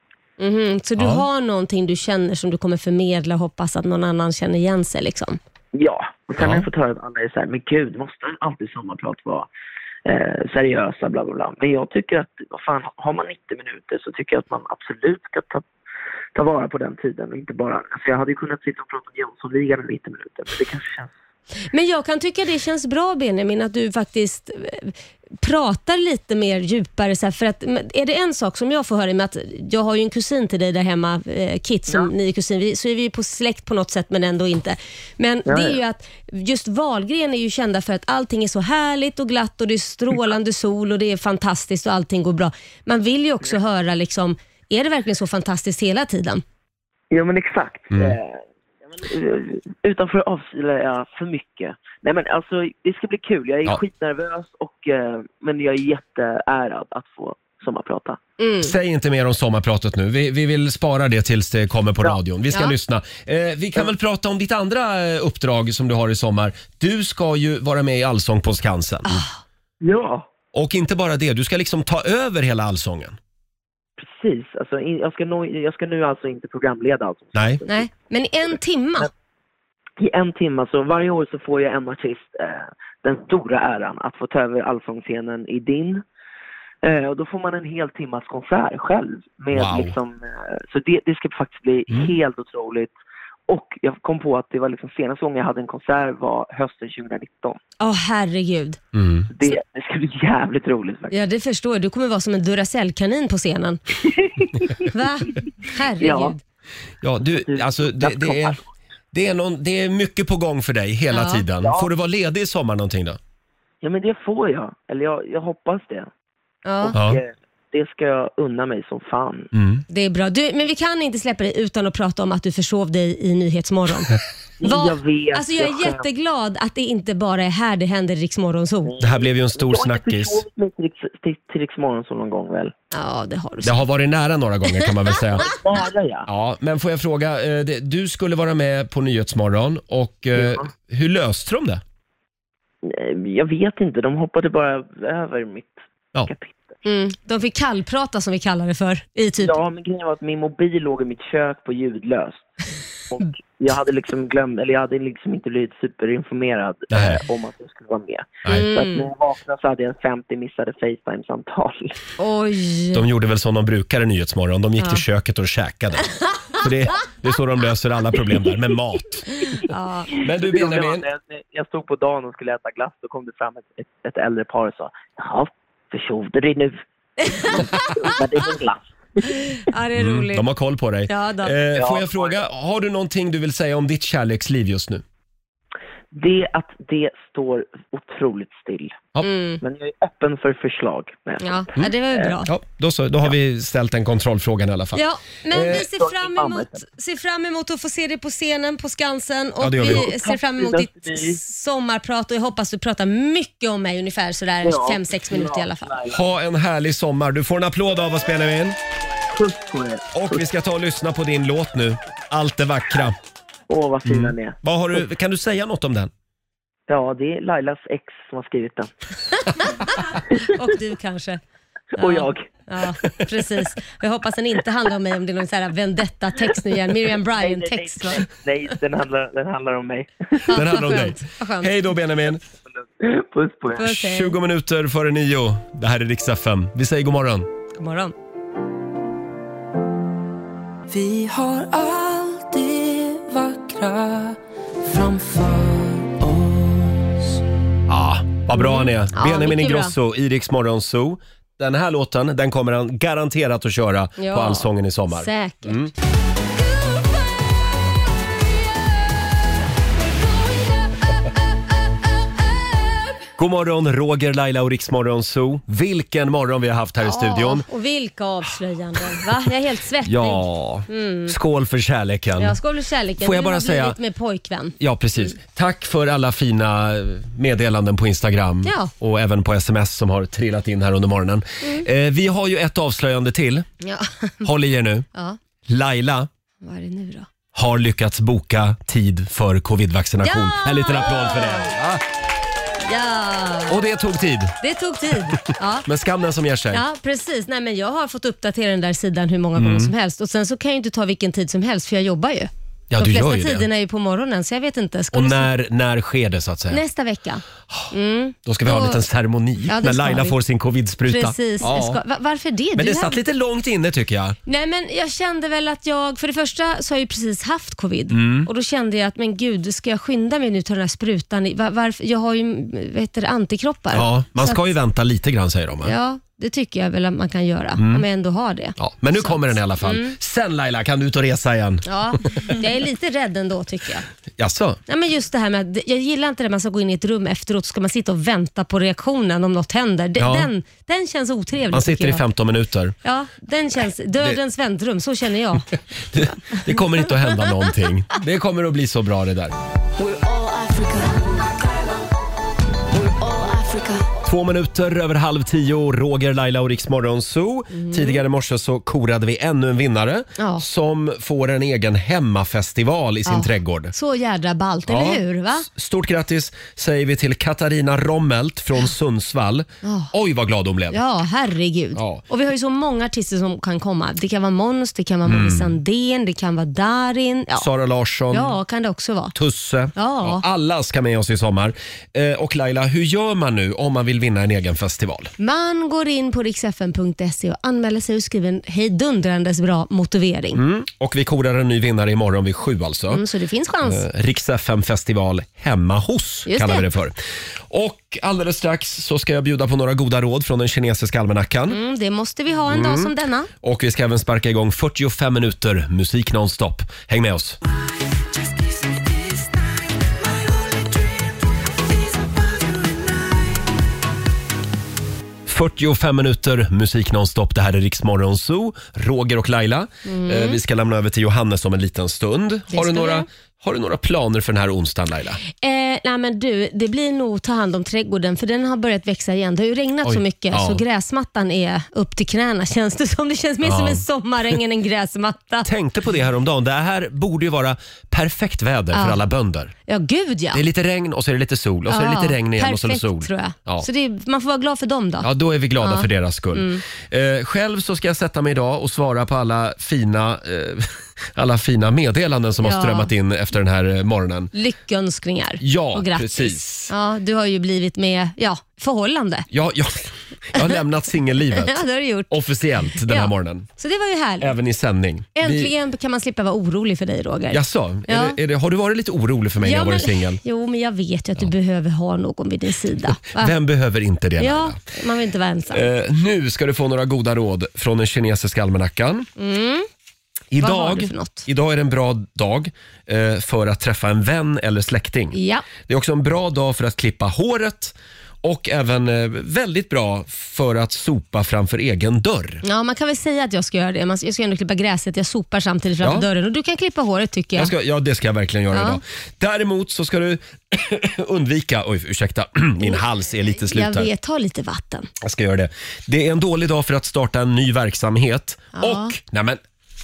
Mhm, Så du
Ja.
har någonting du känner som du kommer förmedla och hoppas att någon annan känner igen sig. Liksom.
Ja, och sen har jag fått höra att alla är så här, men gud, måste alltid sommarprat vara eh, seriösa, bla bla bla. Men jag tycker att, vad fan, har man 90 minuter så tycker jag att man absolut ska ta, ta vara på den tiden och inte bara, alltså jag hade ju kunnat sitta och prata om Jönssonligan i 90 minuter, men det kanske känns
Men jag kan tycka det känns bra Benjamin att du faktiskt eh, pratar lite mer djupare. Så här, för att, men är det en sak som jag får höra i och med att jag har ju en kusin till dig där hemma, eh, Kit, som ni är kusin, vi, så är vi ju på släkt på något sätt men ändå inte. Men
Ja,
det är
ja.
ju att just Wahlgren är ju kända för att allting är så härligt och glatt och det är strålande sol och det är fantastiskt och allting går bra. Man vill ju också höra liksom, är det verkligen så fantastiskt hela tiden?
Ja men exakt.
Mm.
Eh, ja, men, eh, Utanför avslöjar jag för mycket. Nej men alltså det ska bli kul. Jag är
Ja.
skitnervös och eh, men jag är jätteärad att få sommarprata.
Säg inte mer om sommarpratet nu. Vi, vi vill spara det tills det kommer på radion. Vi ska
Ja.
lyssna. Eh, vi kan väl prata om ditt andra eh, uppdrag som du har i sommar. Du ska ju vara med i Allsång på Skansen.
Ja.
Och inte bara det, du ska liksom ta över hela allsången.
Precis. Alltså, in, jag, ska nå, jag ska nu alltså inte programleda alltså.
Nej.
Nej, men i en timma.
I en timme, så varje år så får jag en artist eh, den stora äran att få ta över allsångsscenen i din. Eh, och då får man en hel timmas konsert själv. Med
Wow.
liksom, eh, så det, det ska faktiskt bli helt otroligt. Och jag kom på att det var liksom senaste gången jag hade en konsert var hösten 2019.
Åh herregud.
Mm.
Det, det ska bli jävligt roligt faktiskt.
Ja, det förstår jag. Du kommer vara som en Duracell-kanin på scenen. Va? Herregud.
Ja. Ja, du, alltså det, det är... Det är, någon, det är mycket på gång för dig hela
Ja.
tiden.
Ja.
Får du vara ledig i sommar någonting då?
Ja men det får jag. Eller jag, jag hoppas det.
Ja.
Och eh, det ska jag unna mig som fan.
Mm.
Det är bra. Du, men vi kan inte släppa dig utan att prata om att du försov dig i Nyhetsmorgon. Vad-
Jag vet,
alltså jag är
jag skäms.
jätteglad att det inte bara är här det händer i Rix Morgon
Mm.
Zoo.
Det här blev ju en stor snackis.
Till, till, till Rix Morgonzoo någon gång väl?
Ja, det har du
Det har varit nära några gånger kan man väl säga.
Bara ja.
Ja, men får jag fråga, eh, det- du skulle vara med på Nyhetsmorgon och eh, hur löste de det?
Nej, Eh, Jag vet inte, de hoppade bara över mitt kapitel.
Mm, de fick kallprata som vi kallar det för. I typ.
Ja, men grejen var att min mobil låg i mitt kök på ljudlöst. Och jag hade liksom glömt, eller jag hade liksom inte blivit superinformerad eh, om att jag skulle vara med.
Nej.
Så att när jag vaknade så hade jag 50 missade Facetime-samtal.
Oj.
De gjorde väl som de brukar i Nyhetsmorgon, de gick
Ja.
till köket och käkade. Så det, det är så de löser alla problem där, med mat.
Ja.
Men du, Benjamin.
Jag, jag stod på dagen och skulle äta glass, då kom det fram ett, ett, ett äldre par och sa Jaha, försov du dig nu? Vad är din glass?
Ja, det är
Mm,
roligt.
de har koll på dig.
Ja, då.
Eh, får
Ja.
jag fråga, har du någonting du vill säga om ditt kärleksliv just nu?
Det att det står otroligt still. Men jag är öppen för förslag. Nej, jag
Mm. Ja,
skämtar.
ja, det var ju
Eh,
bra.
Ja, då så, då har vi ställt den kontrollfrågan i alla fall.
Ja, men
Eh,
vi ser fram, emot, ser fram emot att få se dig på scenen på Skansen och
Ja, det
vi,
gör vi.
ser fram emot ditt sommarprat och jag hoppas du pratar mycket om mig ungefär sådär
Ja.
5-6 minuter i alla fall.
Ha en härlig sommar. Du får en applåd av oss Benjamin.
Puss på er.
Och vi ska ta och lyssna på din låt nu. Allt det vackra.
Åh, vad fina ni är.
Vad har du, kan du säga något om den?
Ja, det är Lailas ex som har skrivit den.
Och du kanske.
Och jag.
Ja, precis. Jag hoppas den inte handlar om mig om det är någon sån här vendetta-text nu igen. Miriam Bryant-text. va?
Nej, den handlar, den handlar om mig.
Den handlar om dig.
skönt. Vad skönt.
Hej då Benjamin.
Puss på er.
Puss, hej.
20 minuter före nio. Det här är riksdag 5. Vi säger god morgon.
God morgon.
Vi har allt det vackra framför
Ja, vad bra han är.
Ja,
Benjamin
mycket bra.
Ingrosso i Rix Morgon Zoo. Den här låten den kommer han garanterat att köra
Ja,
på Allsången i sommar.
säkert.
Mm. God morgon, Roger, Laila och Rix Morgon Zoo. Vilken morgon vi har haft här i studion.
Ja, och vilka avslöjanden. Va? Jag är helt svettig.
Ja,
Mm.
skål för kärleken.
Jag skål för kärleken.
Får jag
Du
bara
har
säga-
blivit med pojkvän.
Ja,
Mm.
precis. Tack för alla fina meddelanden på Instagram
Ja.
och även på sms som har trillat in här under morgonen.
Mm.
Eh, vi har ju ett avslöjande till.
Ja.
Håll i er nu.
ja.
Laila
Vad är det nu då?
har lyckats boka tid för covid-vaccination.
Ja!
En liten applåd för det. Ja.
Ja.
Och det tog tid,
Det tog tid. Ja.
men skam den som ger sig.
Ja, precis. Nej, men jag har fått uppdatera den där sidan hur många
Mm.
gånger som helst och sen så kan jag ju inte ta vilken tid som helst för jag jobbar ju.
Ja,
De
du
flesta
gör ju det.
tiderna är ju på morgonen, så jag vet inte. Ska
Och
vi-
när, när sker det så att säga?
Nästa vecka. Mm.
Då ska vi ha en
Då-
liten ceremoni
Ja, det
när
ska
Laila
vi.
får sin covid-spruta.
Precis.
Ja.
Ska, va- varför det?
Men
Du
det
hade-
satt lite långt inne tycker jag.
Nej men jag kände väl att jag, för det första så har jag ju precis haft covid
Mm.
och då kände jag att men gud, ska jag skynda mig nu till den här sprutan? i- va- varför? Jag har ju vad heter det, antikroppar.
Ja, man
Så
ska
att-
ju vänta lite grann säger de.
Ja, det tycker jag väl att man kan göra
Mm.
om jag ändå har det.
Ja, men nu kommer den i alla fall.
Mm.
Sen Laila kan du ut och resa igen.
Ja, jag är lite rädd ändå tycker jag.
Jaså?
Nej, men just det här med att jag gillar inte det man ska gå in i ett rum efteråt så ska man sitta och vänta på reaktionen om något händer. Den,
Ja.
den, den känns otrevlig
Man
tycker
sitter i
jag.
15 minuter.
Ja, den känns, dödens väntrum, så känner jag.
Det kommer inte att hända någonting. Det kommer att bli så bra det där. Två minuter över halv tio, Roger, Laila och Riks Morgonzoo. Tidigare i morse så korade vi ännu en vinnare
Mm. Ja.
som får en egen hemmafestival i sin
Ja.
trädgård.
Så jädra ballt,
Ja.
eller hur? Va?
Stort grattis säger vi till Katarina Rommelt från Sundsvall.
Ja.
Oj, vad glad hon blev.
Ja, herregud.
Ja.
Och vi har ju så många artister som kan komma. Det kan vara Måns, det kan vara Molly
Mm.
Sandén, det kan vara Darin. Ja.
Sara Larsson,
ja, kan det också vara.
Tusse.
Ja.
alla ska med oss i sommar. Eh, och Laila, hur gör man nu om man vill vinna en egen festival?
Man går in på riksfn.se och anmäler sig och skriver en hejdundrandes bra motivering.
Mm. Och vi korar en ny vinnare imorgon vid sju alltså.
Mm, så det finns chans.
Eh, Rix FM festival hemma hos
Just
kallar vi
det.
det för. Och alldeles strax så ska jag bjuda på några goda råd från den kinesiska almanackan.
Mm, det måste vi ha en dag
Mm.
som denna.
Och vi ska även sparka igång 45 minuter musik nonstop. Häng med oss. ...45 minuter musik nonstop. Det här är Riksmorgon Zoo, Roger och Laila.
Mm.
Eh, vi ska lämna över till Johannes om en liten stund.
Det
Har du,
ska
några,
vi.
har du några planer för den här onsdagen, Laila?
Eh, nej men du, det blir nog ta hand om trädgården för den har börjat växa igen. Det har ju regnat
Oj,
så mycket
ja.
så gräsmattan är upp till knäna känns det som. Det känns mer
Ja.
som en sommaräng än en gräsmatta.
Tänkte på det här om dagen. Det här borde ju vara perfekt väder för
Ja.
alla bönder.
Ja, gud ja.
Det är lite regn och så är det lite sol och så är det
Ja,
lite regn igen och så är det
perfekt,
sol.
tror jag.
Ja.
Så det är, man får vara glad för dem då.
Ja, då är vi glada
Ja. Mm.
för deras skull. Eh, själv så ska jag sätta mig idag och svara på alla fina, eh, alla fina meddelanden som
Ja.
har strömmat in efter den här eh, morgonen.
Lyckönskningar
Ja,
och grattis.
precis.
Ja, du har ju blivit med, ja, förhållande.
Jag, jag, jag har lämnat singellivet
Ja, det har du gjort.
officiellt den här
Ja.
morgonen.
Så det var ju härligt.
Även i sändning. Vi-
Äntligen kan man slippa vara orolig för dig Roger.
Jaså,
Ja.
är det, är det, har du varit lite orolig för mig när jag varit
men-
singel?
Jo, men jag vet ju att du behöver ha någon vid din sida. va?
Vem behöver inte det? Laila?
Ja, man vill inte vara ensam.
Eh, nu ska du få några goda råd från den kinesiska almanackan.
Mm. Vad har du
Idag,
för något?
idag är det en bra dag eh, för att träffa en vän eller släkting.
Ja.
Det är också en bra dag för att klippa håret och även eh, väldigt bra för att sopa framför egen dörr.
ja, man kan väl säga att jag ska göra det. Man- Jag ska ändå klippa gräset, jag sopar samtidigt framför
Ja.
dörren och du kan klippa håret tycker jag.
Jag ska, ja, det ska jag verkligen göra
Ja.
idag. Däremot så ska du undvika... Oj, ursäkta. Min hals är lite slut
jag
här.
vet, ta lite vatten.
Jag ska göra det. Det är en dålig dag för att starta en ny verksamhet.
Ja.
Och, nej men,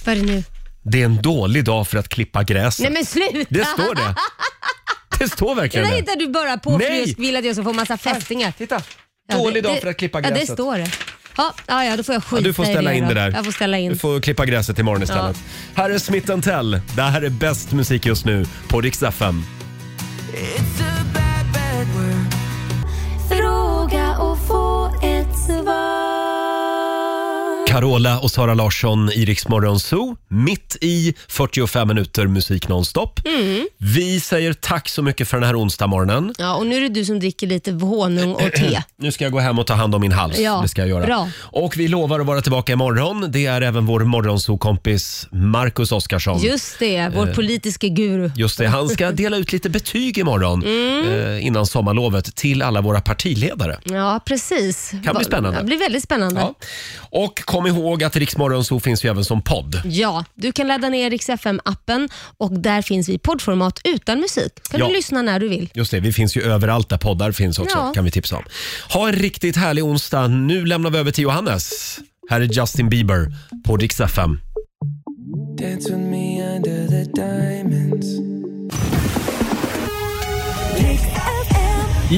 Vad är det nu?
det är en dålig dag för att klippa gräset.
Nej men sluta!
Det står det. Det står
Det
verkligen
där
det.
hittar du bara på
Nej!
för du vill att jag ska få massa fästingar.
Titta!
Ja,
Dålig
det-
dag
det-
för att klippa
Ja,
gräset.
det står det. Ja, ja, ja, då får jag skita
Ja, du får
i
ställa in
då.
det där.
Jag får ställa in.
Du får klippa gräset imorgon istället. Här är Smith Tell. Det här är bäst musik just nu på Rix FM.
Fråga och få ett svar.
Carola och Sara Larsson i Rix Morgon Zoo. Mitt i 45 minuter musik nonstop.
Mm.
Vi säger tack så mycket för den här onsdag morgonen.
Ja, och nu är det du som dricker lite honung och te.
Nu ska jag gå hem och ta hand om min hals.
Ja,
det ska jag göra.
bra.
Och vi lovar att vara tillbaka imorgon. Det är även vår morgonsokompis Marcus Oskarsson.
Just det, vår
Eh.
politiska guru.
Just det, han ska dela ut lite betyg imorgon
Mm.
eh, innan sommarlovet till alla våra partiledare.
Ja, precis.
Kan bli spännande.
Det blir väldigt spännande.
Ja.
Ja.
Och kom ihåg att Riksmorgon så finns ju även som podd.
du kan ladda ner Rix FM-appen och där finns vi i poddformat utan musik. kan
Ja.
du lyssna när du vill.
Just det, vi finns ju överallt där poddar finns också
Ja.
kan vi tipsa om. Ha en riktigt härlig onsdag. Nu lämnar vi över till Johannes. Här är Justin Bieber på Rix FM.
Dance with me under the diamonds. Mix FM.